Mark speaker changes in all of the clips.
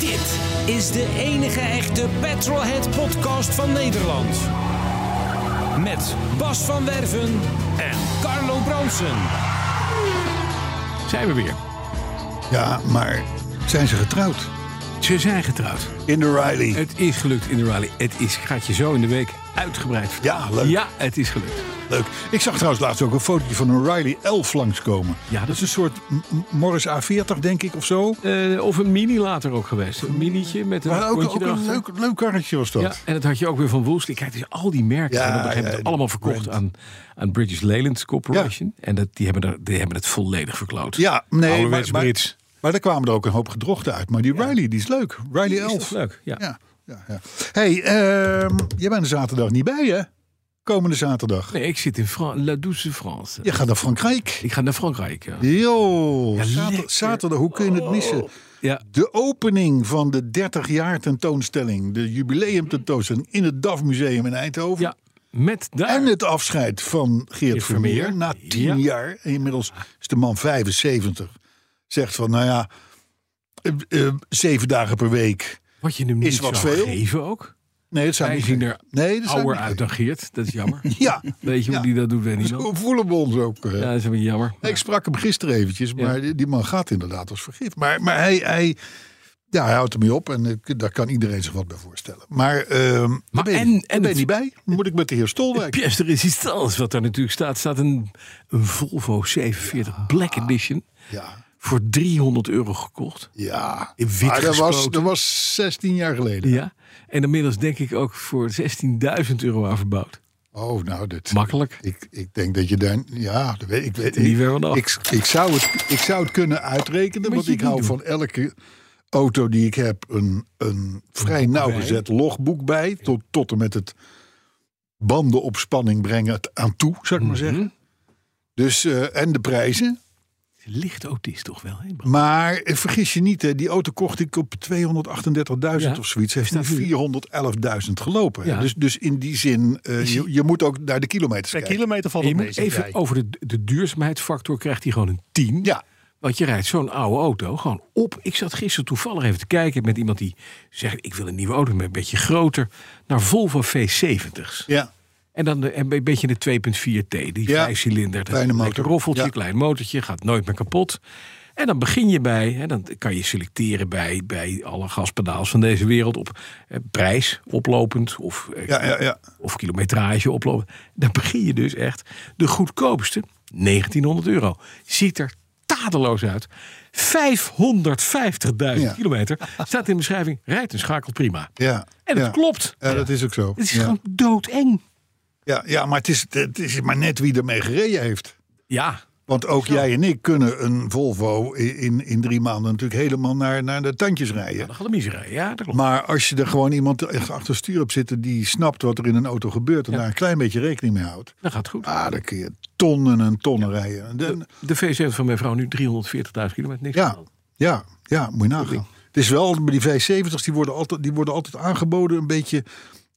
Speaker 1: Dit is de enige echte Petrolhead podcast van Nederland. Met Bas van Werven en Carlo Bronsen.
Speaker 2: zijn we weer.
Speaker 3: Ja, maar zijn ze getrouwd?
Speaker 2: Ze zijn getrouwd.
Speaker 3: In de Riley.
Speaker 2: Het is gelukt in de rally. Het is, gaat je zo in de week uitgebreid vertellen.
Speaker 3: Ja, leuk.
Speaker 2: Ja, het is gelukt.
Speaker 3: Leuk. Ik zag trouwens laatst ook een fotootje van een Riley 11 langskomen.
Speaker 2: Ja, dat-
Speaker 3: dat is een soort M- M- Morris A40, denk ik, of zo.
Speaker 2: Eh, of een mini later ook geweest. Een minietje met een
Speaker 3: Maar ook,
Speaker 2: kontje
Speaker 3: ook een
Speaker 2: erachter.
Speaker 3: leuk, leuk karretje was dat.
Speaker 2: Ja, en dat had je ook weer van Woolsey. Kijk, dus al die merken
Speaker 3: Ja,
Speaker 2: zijn op een gegeven
Speaker 3: ja,
Speaker 2: moment
Speaker 3: die
Speaker 2: allemaal verkocht
Speaker 3: brand.
Speaker 2: aan, aan British Leyland Corporation. En dat, die, hebben er, die hebben het volledig verkloot.
Speaker 3: Ja, nee, maar,
Speaker 2: Ouderwets
Speaker 3: maar,
Speaker 2: Brits.
Speaker 3: maar daar kwamen er ook een hoop gedrochten uit. Maar die Riley, die is leuk. Riley
Speaker 2: Die is
Speaker 3: 11.
Speaker 2: toch leuk, ja.
Speaker 3: Ja, ja, ja. hey, ehm, jij bent er zaterdag niet bij, hè? Komende zaterdag.
Speaker 2: Nee, ik zit in Fran La Douce France.
Speaker 3: Je gaat naar Frankrijk.
Speaker 2: Ik ga naar Frankrijk. Ja.
Speaker 3: Jo,
Speaker 2: Ja,
Speaker 3: zater-
Speaker 2: lekker. Oh.
Speaker 3: zaterdag, hoe kun je het missen?
Speaker 2: Ja.
Speaker 3: De opening van de 30 jaar tentoonstelling, de jubileum tentoonstelling in het DAF Museum in Eindhoven.
Speaker 2: ja, met daar.
Speaker 3: En het afscheid van Geert,
Speaker 2: Geert
Speaker 3: Vermeer,
Speaker 2: Vermeer.
Speaker 3: na tien
Speaker 2: Ja.
Speaker 3: jaar. En inmiddels is de man 75. Zegt van, nou ja, eh, eh, zeven dagen per week.
Speaker 2: Wat je hem niet
Speaker 3: Is wat
Speaker 2: zou
Speaker 3: veel.
Speaker 2: geven ook.
Speaker 3: Nee, dat zou
Speaker 2: Wij
Speaker 3: niet
Speaker 2: zien
Speaker 3: kunnen.
Speaker 2: er
Speaker 3: nee, dat zou
Speaker 2: ouder
Speaker 3: niet
Speaker 2: uit dan Geert. Dat is jammer.
Speaker 3: kunnen. Ja,
Speaker 2: Weet je
Speaker 3: Ja.
Speaker 2: hoe die dat doet, weet niet.
Speaker 3: zo
Speaker 2: wel.
Speaker 3: voelen we ons ook. eh.
Speaker 2: Ja, dat is een beetje jammer.
Speaker 3: Ik sprak hem gisteren eventjes,
Speaker 2: Ja.
Speaker 3: maar die- die man gaat inderdaad als vergif. Maar, maar hij, hij, ja, hij houdt ermee op en eh, daar kan iedereen zich wat bij voorstellen. Maar, ehm
Speaker 2: Maar
Speaker 3: daar ben, je-
Speaker 2: en-
Speaker 3: daar
Speaker 2: en
Speaker 3: ben je
Speaker 2: het-
Speaker 3: niet bij? Dan Moet ik met de heer
Speaker 2: Het
Speaker 3: Stolwijk?
Speaker 2: pièce de résistance, wat daar natuurlijk staat, staat een, een Volvo 47 Black Edition
Speaker 3: Ja,
Speaker 2: voor 300 euro gekocht.
Speaker 3: ja.
Speaker 2: In wit
Speaker 3: Maar dat was,
Speaker 2: gespoten.
Speaker 3: dat was 16 jaar geleden.
Speaker 2: Ja. En inmiddels denk ik ook voor 16.000 euro aan verbouwd.
Speaker 3: Oh, nou, dit,
Speaker 2: Makkelijk.
Speaker 3: ik, ik denk dat je daar... Ja, dat weet, ik weet
Speaker 2: er niet
Speaker 3: ik-
Speaker 2: weer vanaf.
Speaker 3: Ik, ik, zou het, ik zou het kunnen uitrekenen,
Speaker 2: Moet
Speaker 3: want
Speaker 2: je
Speaker 3: ik
Speaker 2: niet
Speaker 3: hou
Speaker 2: doen.
Speaker 3: van elke auto die ik heb een, een vrij nauwgezet logboek bij. Tot, tot en met het banden op spanning brengen het aan toe, zou ik maar zeggen.
Speaker 2: Mhm.
Speaker 3: Dus, eh, en de prijzen.
Speaker 2: Licht autist toch wel, hè? Bram?
Speaker 3: Maar eh, vergis je niet, hè, die auto kocht ik op 238.000
Speaker 2: Ja,
Speaker 3: of zoiets. Heeft
Speaker 2: staat
Speaker 3: nu 411.000 gelopen. hè.
Speaker 2: Ja.
Speaker 3: Dus, dus in die zin, eh, je, je moet ook naar de kilometers
Speaker 4: Per
Speaker 3: kijken.
Speaker 4: kilometer valt
Speaker 2: En je
Speaker 4: het
Speaker 2: moet
Speaker 4: mee.
Speaker 2: even over de, de duurzaamheidsfactor krijgt hij gewoon een 10.
Speaker 3: Ja,
Speaker 2: Want je rijdt zo'n oude auto gewoon op. Ik zat gisteren toevallig even te kijken met iemand die zegt... ik wil een nieuwe auto, maar een beetje groter. Naar Volvo V70's.
Speaker 3: ja.
Speaker 2: En dan de- een beetje de 2.4T, die
Speaker 3: Ja,
Speaker 2: vijfcilinder. Dat
Speaker 3: kleine
Speaker 2: een
Speaker 3: motor.
Speaker 2: roffeltje,
Speaker 3: Ja.
Speaker 2: klein motortje, gaat nooit meer kapot. En dan begin je bij, hè, dan kan je selecteren bij, bij alle gaspedaals van deze wereld... op eh, prijs oplopend of, eh,
Speaker 3: Ja, ja, ja.
Speaker 2: of kilometrage oplopend. Dan begin je dus echt de goedkoopste, 1900 euro. Ziet er tadeloos uit. 550.000
Speaker 3: Ja.
Speaker 2: kilometer. Staat in de beschrijving, rijdt en schakelt prima.
Speaker 3: ja.
Speaker 2: En dat
Speaker 3: ja.
Speaker 2: klopt.
Speaker 3: Ja, dat is ook zo.
Speaker 2: Het is
Speaker 3: ja.
Speaker 2: gewoon doodeng.
Speaker 3: Ja, ja, maar het is, het is maar net wie ermee gereden heeft.
Speaker 2: Ja,
Speaker 3: Want ook jij en ik kunnen een Volvo i- in, in drie maanden natuurlijk helemaal naar, naar de tandjes rijden.
Speaker 2: dan gaat hem niet rijden. Ja, dat klopt.
Speaker 3: Maar als je er gewoon iemand echt achter het stuur op zit die snapt wat er in een auto gebeurt en daar een klein beetje rekening mee houdt.
Speaker 2: Dat gaat goed.
Speaker 3: Ah, dan kun je tonnen en tonnen rijden. En dan-
Speaker 2: De V70 van mijn vrouw nu 340.000 kilometer. Niks
Speaker 3: ja,
Speaker 2: aan.
Speaker 3: ja, ja, moet je nagaan. Het is wel, die V70's die worden, altijd, die worden altijd aangeboden een beetje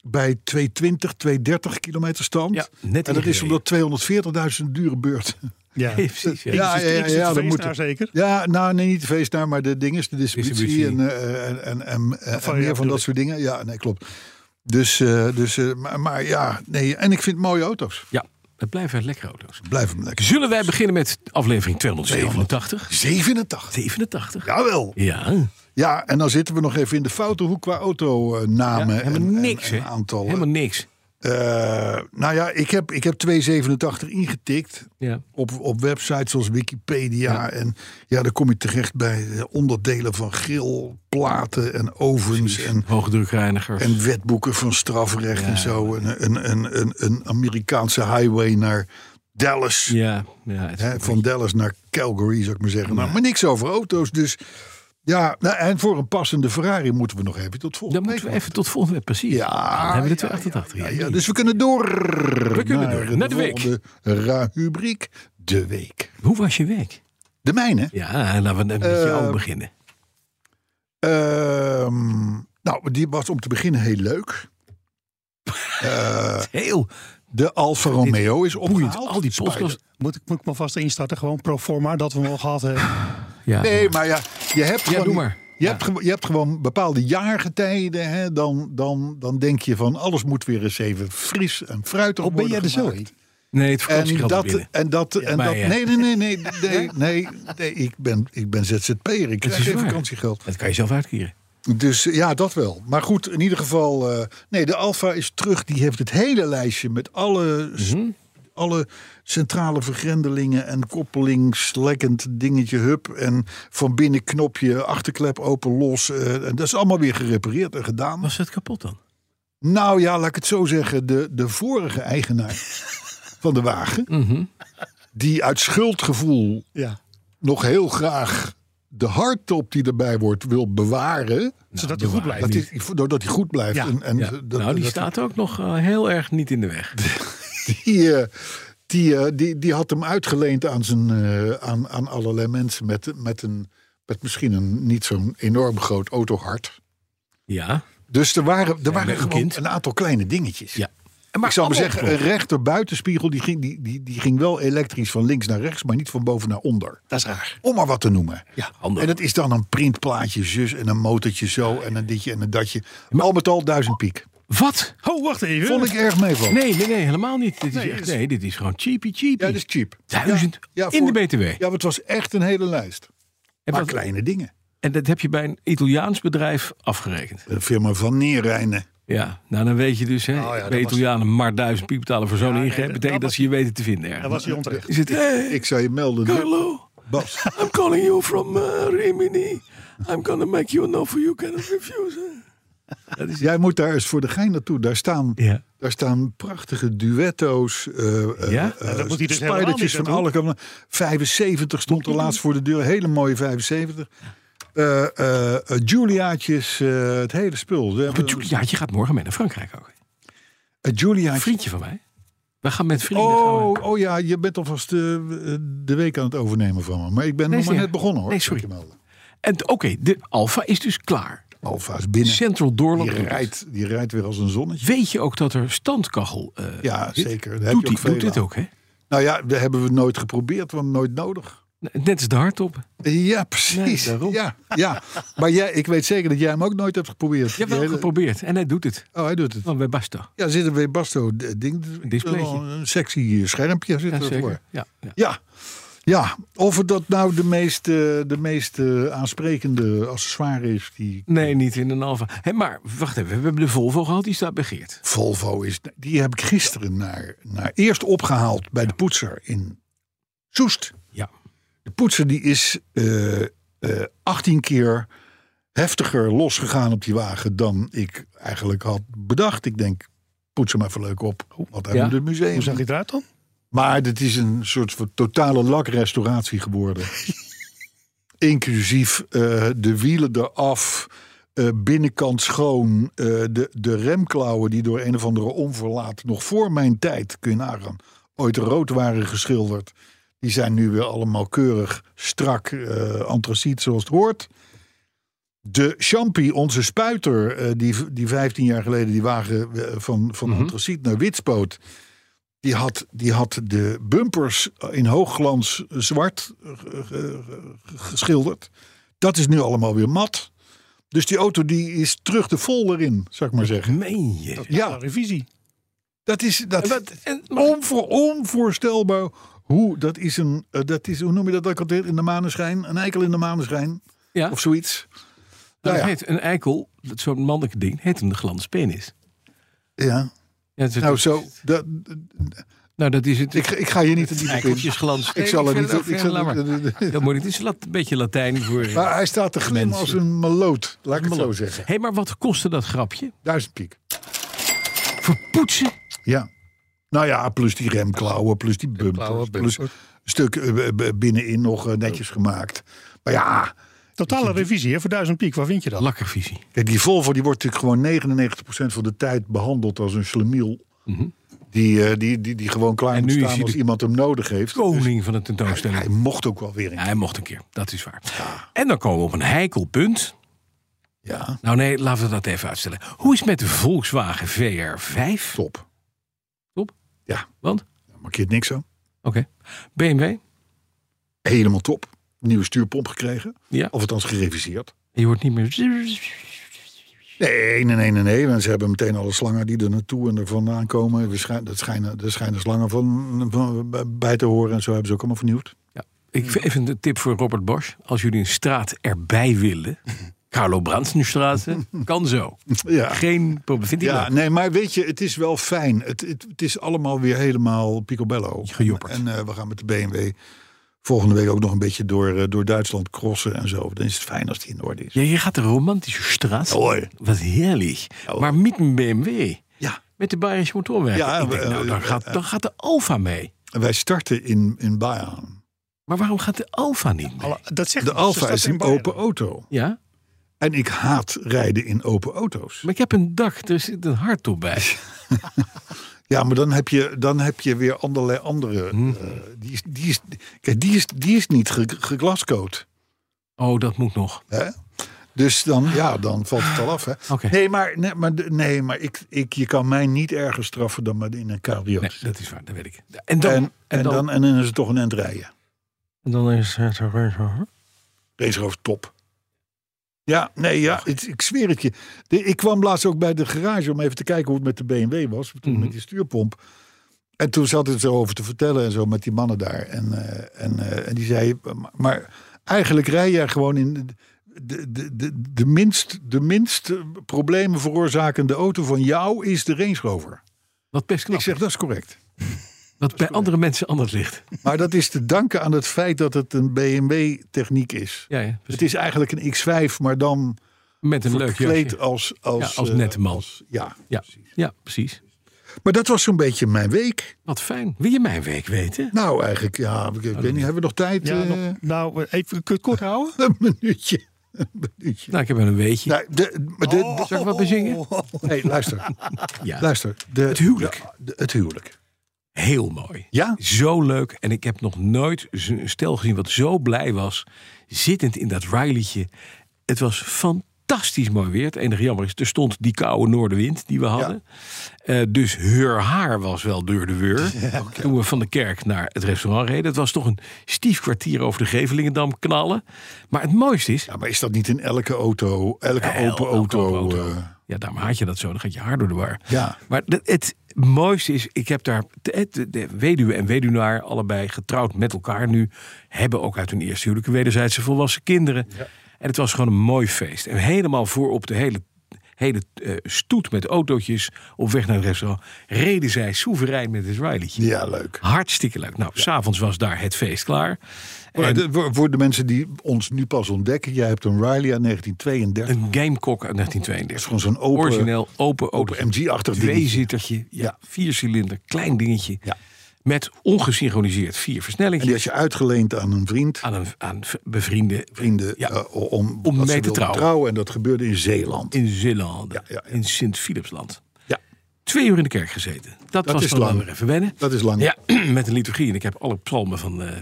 Speaker 3: bij 220, 230 kilometer stand.
Speaker 2: Ja, net
Speaker 3: en dat is
Speaker 2: ingereden.
Speaker 3: omdat 240.000 een dure beurt.
Speaker 4: Ja.
Speaker 2: Ja, precies. Ja.
Speaker 3: Ja,
Speaker 4: Ik zit-
Speaker 3: ja,
Speaker 4: ik
Speaker 3: ja,
Speaker 4: zit
Speaker 3: ja,
Speaker 4: feest
Speaker 3: dat moet
Speaker 4: daar
Speaker 3: het.
Speaker 4: zeker.
Speaker 3: Ja, nou, nee, niet de feestnaar, maar de dingen, de distributie,
Speaker 2: Distributie.
Speaker 3: en, eh, en, en, en, en
Speaker 4: Van, ja,
Speaker 3: meer van
Speaker 4: bedoel
Speaker 3: dat
Speaker 4: ik.
Speaker 3: soort dingen. Ja, nee, klopt. Dus, eh, dus eh, maar, maar ja, nee. En ik vind mooie auto's.
Speaker 2: ja, het blijven lekkere auto's.
Speaker 3: Blijf hem lekker.
Speaker 2: Zullen wij beginnen met aflevering 287?
Speaker 3: 87.
Speaker 2: 87?
Speaker 3: Jawel.
Speaker 2: Ja,
Speaker 3: Ja, en dan zitten we nog even in de foute hoek qua autonamen.
Speaker 2: helemaal
Speaker 3: en, en-
Speaker 2: niks,
Speaker 3: en,
Speaker 2: hè?
Speaker 3: aantallen.
Speaker 2: helemaal niks.
Speaker 3: Eh, nou ja, ik heb, ik heb 287 ingetikt.
Speaker 2: Ja.
Speaker 3: op, op websites zoals Wikipedia.
Speaker 2: Ja.
Speaker 3: En ja, dan kom je terecht bij eh, onderdelen van grillplaten en ovens en,
Speaker 2: Hoogdrukreinigers.
Speaker 3: en wetboeken van strafrecht en zo. Een, een, een, een, een Amerikaanse highway naar Dallas.
Speaker 2: Ja, ja het-
Speaker 3: Hè, van Dallas naar Calgary, zou ik maar zeggen. Maar, maar niks over auto's. Dus ja, nou, en voor een passende Ferrari moeten we nog even tot
Speaker 2: dan
Speaker 3: volgende
Speaker 2: moeten we
Speaker 3: week
Speaker 2: even tot volgende week, precies.
Speaker 3: Ja,
Speaker 2: Dan hebben we de
Speaker 3: ja,
Speaker 2: twee achter achter.
Speaker 3: wachten. Ja, ja, dus we kunnen door.
Speaker 2: We kunnen
Speaker 3: naar
Speaker 2: door,
Speaker 3: de
Speaker 2: naar de week.
Speaker 3: volgende ra- rubriek, de week.
Speaker 2: Hoe was je week?
Speaker 3: De mijne.
Speaker 2: Ja, laten we met jou
Speaker 3: Eh,
Speaker 2: beginnen.
Speaker 3: Ehm, nou, die was om te beginnen heel leuk. Eh,
Speaker 2: Heel
Speaker 3: De Alfa Romeo is
Speaker 2: boeiend.
Speaker 3: opgehaald.
Speaker 2: Al die podcasts.
Speaker 4: Moet ik, moet ik me vast instarten, gewoon pro forma, dat we hem al gehad hebben.
Speaker 2: Ja.
Speaker 3: Nee, maar ja, je hebt gewoon,
Speaker 2: doe maar.
Speaker 3: Je, hebt, gewo- je hebt gewoon bepaalde jaargetijden. Hè, dan, dan, dan denk je van alles moet weer eens even fris en fruitig
Speaker 2: Oh,
Speaker 4: Of ben
Speaker 3: worden
Speaker 4: jij de
Speaker 3: gemaakt.
Speaker 4: zult?
Speaker 2: Nee, het
Speaker 3: En
Speaker 2: vakantiegeld is
Speaker 3: dat,
Speaker 2: binnen.
Speaker 3: en dat, en
Speaker 2: maar
Speaker 3: dat,
Speaker 2: ja.
Speaker 3: nee, nee, nee, nee, nee, nee, nee, ik ben, ik ben ZZP'er, ik krijg
Speaker 2: is
Speaker 3: geen
Speaker 2: waar.
Speaker 3: vakantiegeld.
Speaker 2: Dat kan je zelf uitkeren.
Speaker 3: Dus eh, ja, dat wel. Maar goed, in ieder geval, eh, nee, de Alfa is terug. Die heeft het hele lijstje met alle, s- alle centrale vergrendelingen en koppelingslekkend dingetje, hup. En van binnen knopje, achterklep open, los. eh, en dat is allemaal weer gerepareerd en gedaan.
Speaker 2: Was het kapot dan?
Speaker 3: Nou ja, laat ik het zo zeggen. De, de vorige eigenaar van de wagen, die uit schuldgevoel
Speaker 4: Ja.
Speaker 3: nog heel graag de hardtop die erbij wordt wil bewaren.
Speaker 4: Zodat hij goed blijft.
Speaker 3: Dat is, doordat hij goed blijft.
Speaker 4: Ja,
Speaker 3: En, en
Speaker 2: Ja.
Speaker 3: dat-
Speaker 2: nou, die
Speaker 3: dat-
Speaker 2: staat ook nog eh, heel erg niet in de weg.
Speaker 3: Die, eh, die, eh, die, die had hem uitgeleend aan, zijn, eh, aan, aan allerlei mensen met, met, een, met misschien een niet zo'n enorm groot autohart.
Speaker 2: Ja.
Speaker 3: Dus er waren, er
Speaker 2: met
Speaker 3: waren
Speaker 2: een
Speaker 3: gewoon
Speaker 2: kind.
Speaker 3: een aantal kleine dingetjes.
Speaker 2: ja.
Speaker 3: ik zou maar zeggen, een rechter buitenspiegel die ging, die, die, die ging wel elektrisch van links naar rechts, maar niet van boven naar onder.
Speaker 4: Dat is raar.
Speaker 3: Om maar wat te noemen.
Speaker 2: Ja, handig.
Speaker 3: En dat is dan een printplaatje zus en een motortje zo en een ditje en een datje. al met al duizend piek.
Speaker 2: Wat?
Speaker 4: Oh, wacht even.
Speaker 3: Vond ik erg mee van.
Speaker 2: Nee, nee, nee, helemaal niet. Dit is
Speaker 4: Nee,
Speaker 2: echt,
Speaker 4: is-
Speaker 2: nee, dit is gewoon cheapy cheapy.
Speaker 3: Ja, dat is cheap.
Speaker 2: Duizend in
Speaker 3: voor-
Speaker 2: de BTW.
Speaker 3: Ja, maar het was echt een hele lijst.
Speaker 2: en,
Speaker 3: maar
Speaker 2: wat-
Speaker 3: kleine dingen.
Speaker 2: en dat heb je bij een Italiaans bedrijf afgerekend.
Speaker 3: De firma Van Neerijnen.
Speaker 2: Ja, nou dan weet je dus, hè,
Speaker 3: Oh, ja,
Speaker 2: bij
Speaker 3: dat was-
Speaker 2: Italianen maar duizend piep betalen voor zo'n ingreep.
Speaker 4: nee, dat-
Speaker 2: Betekent
Speaker 4: dat
Speaker 2: dat,
Speaker 4: was-
Speaker 2: ze je weten te vinden.
Speaker 4: Dat
Speaker 2: ergens.
Speaker 4: was hij onterecht.
Speaker 2: Is het, hey,
Speaker 3: Ik zou je melden.
Speaker 2: Carlo,
Speaker 3: Bas.
Speaker 2: I'm calling you from eh, Rimini. I'm gonna make you an offer you cannot refuse.
Speaker 3: Jij moet daar eens voor de gein naartoe. Daar staan,
Speaker 2: Ja.
Speaker 3: daar staan prachtige duetto's. eh, eh,
Speaker 2: Ja?
Speaker 3: eh,
Speaker 4: dat moet hij dus helemaal
Speaker 3: spijdertjes
Speaker 4: niet
Speaker 3: van
Speaker 4: naartoe.
Speaker 3: alle kanten. 75 stond er laatst voor de deur. Hele mooie 75. Eh, eh, eh, Juliaatjes, eh, het hele spul. Ze hebben-
Speaker 2: Ja, je gaat morgen mee naar Frankrijk ook.
Speaker 3: Eh,
Speaker 2: Een
Speaker 3: Juliaatjes.
Speaker 2: vriendje van mij. We gaan met vrienden. gaan we-
Speaker 3: Oh, oh ja, je bent alvast eh, de week aan het overnemen van me. Maar ik ben
Speaker 2: Nee,
Speaker 3: nog maar
Speaker 2: is
Speaker 3: net
Speaker 2: niet-
Speaker 3: begonnen hoor.
Speaker 2: nee, sorry.
Speaker 3: Moet je melden.
Speaker 2: En t- oké, de Alfa is dus klaar.
Speaker 3: Alfa's binnen.
Speaker 2: Central Doorland.
Speaker 3: Die rijdt, die rijdt weer als een zonnetje.
Speaker 2: Weet je ook dat er standkachel eh
Speaker 3: Ja,
Speaker 2: zit?
Speaker 3: zeker. Daar heb
Speaker 2: Doet,
Speaker 3: je ook
Speaker 2: die,
Speaker 3: veel
Speaker 2: doet dit
Speaker 3: aan.
Speaker 2: ook, hè?
Speaker 3: Nou ja, dat hebben we nooit geprobeerd, want nooit nodig.
Speaker 2: Net als de hardtop.
Speaker 3: Ja, precies.
Speaker 2: Nee, daarom.
Speaker 3: ja, ja. Maar jij, ik weet zeker dat jij hem ook nooit hebt geprobeerd.
Speaker 2: Je hebt
Speaker 3: Die
Speaker 2: wel
Speaker 3: hele-
Speaker 2: geprobeerd. En hij doet het.
Speaker 3: Oh, hij doet het.
Speaker 2: Want bij Basta.
Speaker 3: Ja, zit er weer Basto d- ding.
Speaker 2: Displaytje.
Speaker 3: wel Een sexy eh, schermpje zit
Speaker 2: Ja,
Speaker 3: er voor.
Speaker 2: zeker. Ja, ja.
Speaker 3: Ja. Ja, of het dat nou de meest, eh, de meest eh, aansprekende accessoire is, die
Speaker 2: Nee, niet in een Alfa. Hé, maar wacht even. We hebben de Volvo gehad. Die staat bij Geert.
Speaker 3: Volvo is. Die heb ik gisteren naar, naar eerst opgehaald bij de poetser in Soest.
Speaker 2: Ja.
Speaker 3: De poetser die is eh, eh, 18 keer heftiger losgegaan op die wagen dan ik eigenlijk had bedacht. Ik denk, poets hem even leuk op. Wat hebben
Speaker 2: Ja.
Speaker 3: we in het museum?
Speaker 4: Hoe zag hij eruit dan?
Speaker 3: Maar dit is een soort van totale lakrestauratie geworden. Inclusief eh, de wielen eraf, eh, binnenkant schoon, eh, de, de remklauwen die door een of andere onverlaat nog voor mijn tijd, kun je nagaan, ooit rood waren geschilderd. Die zijn nu weer allemaal keurig, strak, eh antraciet zoals het hoort. De Champy, onze spuiter, eh, die, die 15 jaar geleden die wagen eh, van, van
Speaker 2: Mhm.
Speaker 3: antraciet naar wit spoot. Die had, die had de bumpers in hoogglans zwart eh, ge- ge- ge- geschilderd. Dat is nu allemaal weer mat. Dus die auto die is terug de vol erin, zou ik maar zeggen.
Speaker 2: Meen je?
Speaker 3: Ja,
Speaker 4: Revisie.
Speaker 3: dat is, dat,
Speaker 2: En wat- en- maar-
Speaker 3: onvoor, onvoorstelbaar hoe dat is een, eh, dat is, hoe noem je dat ook altijd, in de maneschijn? Een eikel in de maneschijn
Speaker 2: Ja.
Speaker 3: of zoiets.
Speaker 2: Nou,
Speaker 3: Nou
Speaker 2: dat
Speaker 3: ja,
Speaker 2: heet een eikel. dat Zo'n mannelijk ding. Heet hem de glanspenis.
Speaker 3: ja.
Speaker 2: Ja, dat is-
Speaker 3: Nou, zo, dat,
Speaker 2: nou, dat is het.
Speaker 3: ik, ik ga je niet in diepe in.
Speaker 2: Eikeltjesglans.
Speaker 3: Ik zal er niet
Speaker 2: op.
Speaker 3: ik zal er-
Speaker 2: Dat moet niet. Het is lat- een beetje Latijn voor... eh,
Speaker 3: Maar hij staat te glimmen als
Speaker 2: Mensen.
Speaker 3: een meloot, laat ik het zo zeggen.
Speaker 2: Hé, maar wat kostte dat grapje?
Speaker 3: Duizend piek.
Speaker 2: Voor poetsen?
Speaker 3: Ja. Nou ja, plus die remklauwen, plus die bumpers,
Speaker 5: Remklauwen,
Speaker 3: plus een
Speaker 5: bumpers.
Speaker 3: stuk eh, b- b- binnenin nog eh, netjes gemaakt. Maar ja,
Speaker 4: Totale revisie hè, voor 1000 piek, waar vind je dat?
Speaker 2: Lekker visie.
Speaker 3: kijk, die Volvo die wordt natuurlijk gewoon 99% van de tijd behandeld als een slemiel. Die, eh, die, die, die gewoon klaar
Speaker 2: Mhm. En
Speaker 3: moet
Speaker 2: nu is
Speaker 3: staan
Speaker 2: hij
Speaker 3: als
Speaker 2: de Oh.
Speaker 3: iemand hem nodig heeft.
Speaker 2: Koning van de
Speaker 3: Dus hij
Speaker 2: tentoonstelling.
Speaker 3: mocht ook wel weer een
Speaker 2: Ja, hij mocht een keer, dat is waar. En dan komen we op een heikel punt.
Speaker 3: Ja,
Speaker 2: Nou nee, laten we dat even uitstellen. Hoe is het met de Volkswagen VR5?
Speaker 3: top.
Speaker 2: Want?
Speaker 3: Daar markeert niks aan.
Speaker 2: Oké. BMW?
Speaker 3: Helemaal top. Nieuwe stuurpomp gekregen.
Speaker 2: Ja.
Speaker 3: Of althans gereviseerd.
Speaker 2: Je hoort niet meer...
Speaker 3: Nee, nee, nee, nee, nee. Want ze hebben meteen alle slangen die er naartoe en er vandaan komen. Er schijnen, er schijnen, er schijnen slangen van, van- bij te horen. En zo hebben ze ook allemaal vernieuwd.
Speaker 2: Ja. Ik vind even een tip voor Robert Bosch. Als jullie een straat erbij willen... Carlo Brandsenstraat, kan zo.
Speaker 3: Ja.
Speaker 2: Geen probleem. Vind ik
Speaker 3: Ja,
Speaker 2: leuk.
Speaker 3: nee, maar weet je, het is wel fijn. Het, het, het is allemaal weer helemaal picobello.
Speaker 2: Gejopperd.
Speaker 3: En eh, we gaan met de BMW volgende week ook nog een beetje door, eh, door Duitsland crossen en zo. Dan is het fijn als die in orde is.
Speaker 2: Ja, je gaat de romantische straat.
Speaker 3: Ja, hoor.
Speaker 2: Wat heerlijk. maar met een BMW.
Speaker 3: Ja.
Speaker 2: Met de Bayerische motorwerken.
Speaker 3: Ja,
Speaker 2: ik denk,
Speaker 3: eh,
Speaker 2: nou, dan,
Speaker 3: eh,
Speaker 2: gaat,
Speaker 3: eh,
Speaker 2: dan gaat de Alfa mee.
Speaker 3: En Wij starten in, in Bayern.
Speaker 2: Maar waarom gaat de Alfa niet mee?
Speaker 4: Alle- dat zegt
Speaker 3: De
Speaker 4: ze
Speaker 3: Alfa
Speaker 4: staat
Speaker 3: is
Speaker 4: in
Speaker 3: een
Speaker 4: Beieren.
Speaker 3: open auto.
Speaker 2: Ja,
Speaker 3: En ik haat rijden in open auto's.
Speaker 2: maar ik heb een dak, er zit een hardtop bij.
Speaker 3: Ja, maar dan heb je, dan heb je weer allerlei andere.
Speaker 2: Mhm.
Speaker 3: eh, die, is, die, is, kijk, die, is, die is niet ge- geglascoat.
Speaker 2: Oh, dat moet nog.
Speaker 3: Hè? Dus dan, ja, dan valt het al af. Hè?
Speaker 2: Oké.
Speaker 3: Nee, maar, nee, maar, de- nee, maar ik, ik, je kan mij niet erger straffen dan met in een cabrio.
Speaker 2: Nee,
Speaker 3: te
Speaker 2: dat
Speaker 3: zitten.
Speaker 2: is waar, dat weet ik. En dan,
Speaker 3: en, en, dan, en dan is het toch een end rijden.
Speaker 2: en dan is het...
Speaker 3: Race Rover top. Ja, nee, ja, het- ik zweer het je. De- ik kwam laatst ook bij de garage om even te kijken hoe het met de BMW was. Toen
Speaker 2: Mhm.
Speaker 3: met die stuurpomp. En toen zat het zo over te vertellen en zo met die mannen daar. En, eh, en, eh, en die zei, maar, maar eigenlijk rij jij gewoon in de, de, de, de, de minst, de minst problemen veroorzakende auto van jou is de Range Rover.
Speaker 2: Wat best knap.
Speaker 3: Ik zeg, dat is correct.
Speaker 2: wat bij andere mensen anders ligt.
Speaker 3: Maar dat is te danken aan het feit dat het een BMW techniek is.
Speaker 2: Ja, ja
Speaker 3: Het
Speaker 2: precies.
Speaker 3: is eigenlijk een X5, maar dan
Speaker 2: Met een leuk
Speaker 3: verkleed
Speaker 2: jasje.
Speaker 3: als, als,
Speaker 2: Ja, als
Speaker 3: eh,
Speaker 2: nette man.
Speaker 3: als- ja.
Speaker 2: Ja, ja, precies.
Speaker 3: Maar dat was zo'n beetje mijn week.
Speaker 2: Wat fijn. Wil je mijn week weten?
Speaker 3: Nou, eigenlijk, ja, ik, ik
Speaker 2: Oh,
Speaker 3: weet niet, hebben we nog tijd?
Speaker 4: Ja,
Speaker 3: eh,
Speaker 4: nog- nou, even kun je het kort houden.
Speaker 3: Een minuutje. Een minuutje.
Speaker 2: Nou, ik heb wel een weetje.
Speaker 3: Nee, de, maar de,
Speaker 4: Oh.
Speaker 3: de-
Speaker 2: Zal ik wat bezingen?
Speaker 3: nee, luister.
Speaker 2: Ja.
Speaker 3: luister de,
Speaker 2: Het huwelijk.
Speaker 3: ja, de- het huwelijk.
Speaker 2: Heel mooi.
Speaker 3: Ja?
Speaker 2: Zo leuk. En ik heb nog nooit zo'n stel gezien wat zo blij was. Zittend in dat Rileytje. Het was fantastisch mooi weer. Het enige jammer is, er stond die koude noordenwind die we hadden. Eh, dus heur haar was wel deur de weur. Toen we van de kerk naar het restaurant reden. Het was toch een stief kwartier over de Gevelingedam knallen. Maar het mooiste is...
Speaker 3: Ja, maar is dat niet in elke auto, elke
Speaker 2: Wel,
Speaker 3: open
Speaker 2: elke
Speaker 3: auto?
Speaker 2: open
Speaker 3: eh,
Speaker 2: ja, daarom haat je dat zo. Dan gaat je haar door de war.
Speaker 3: Ja.
Speaker 2: Maar dat- het mooiste is, ik heb daar... De, de- de weduwe en weduwnaar, allebei getrouwd met elkaar nu... hebben ook uit hun eerste huwelijk wederzijdse volwassen kinderen. En het was gewoon een mooi feest. En helemaal voorop de hele, hele eh, stoet met autootjes op weg naar het restaurant... reden zij soeverein met het Rileytje.
Speaker 3: ja, leuk.
Speaker 2: Hartstikke leuk. Nou, s'avonds was daar het feest klaar.
Speaker 3: Maar de- voor- voor de mensen die ons nu pas ontdekken, jij hebt een Riley uit 1932.
Speaker 2: Een Gamecock uit
Speaker 3: Dat is
Speaker 2: 1932.
Speaker 3: gewoon zo'n open,
Speaker 2: Origineel, open auto.
Speaker 3: open MG-achtig ding.
Speaker 2: Tweezittertje, ja,
Speaker 3: Ja.
Speaker 2: viercilinder, klein dingetje.
Speaker 3: Ja.
Speaker 2: Met ongesynchroniseerd vier
Speaker 3: En die
Speaker 2: versnellingen
Speaker 3: had je uitgeleend aan een vriend.
Speaker 2: aan, een, aan v- bevriende
Speaker 3: vrienden
Speaker 2: Ja.
Speaker 3: eh, om,
Speaker 2: Om
Speaker 3: dat ze
Speaker 2: mee te
Speaker 3: wilden
Speaker 2: trouwen.
Speaker 3: En dat gebeurde in Zeeland.
Speaker 2: in Zeeland,
Speaker 3: Ja, ja, ja.
Speaker 2: in Sint-Philipsland.
Speaker 3: Ja,
Speaker 2: Twee uur in de kerk gezeten. Dat, was
Speaker 3: is
Speaker 2: dan wel
Speaker 3: lang.
Speaker 2: weer even wennen.
Speaker 3: dat is lang.
Speaker 2: Ja, met een liturgie. En ik heb alle psalmen van... eh, eh,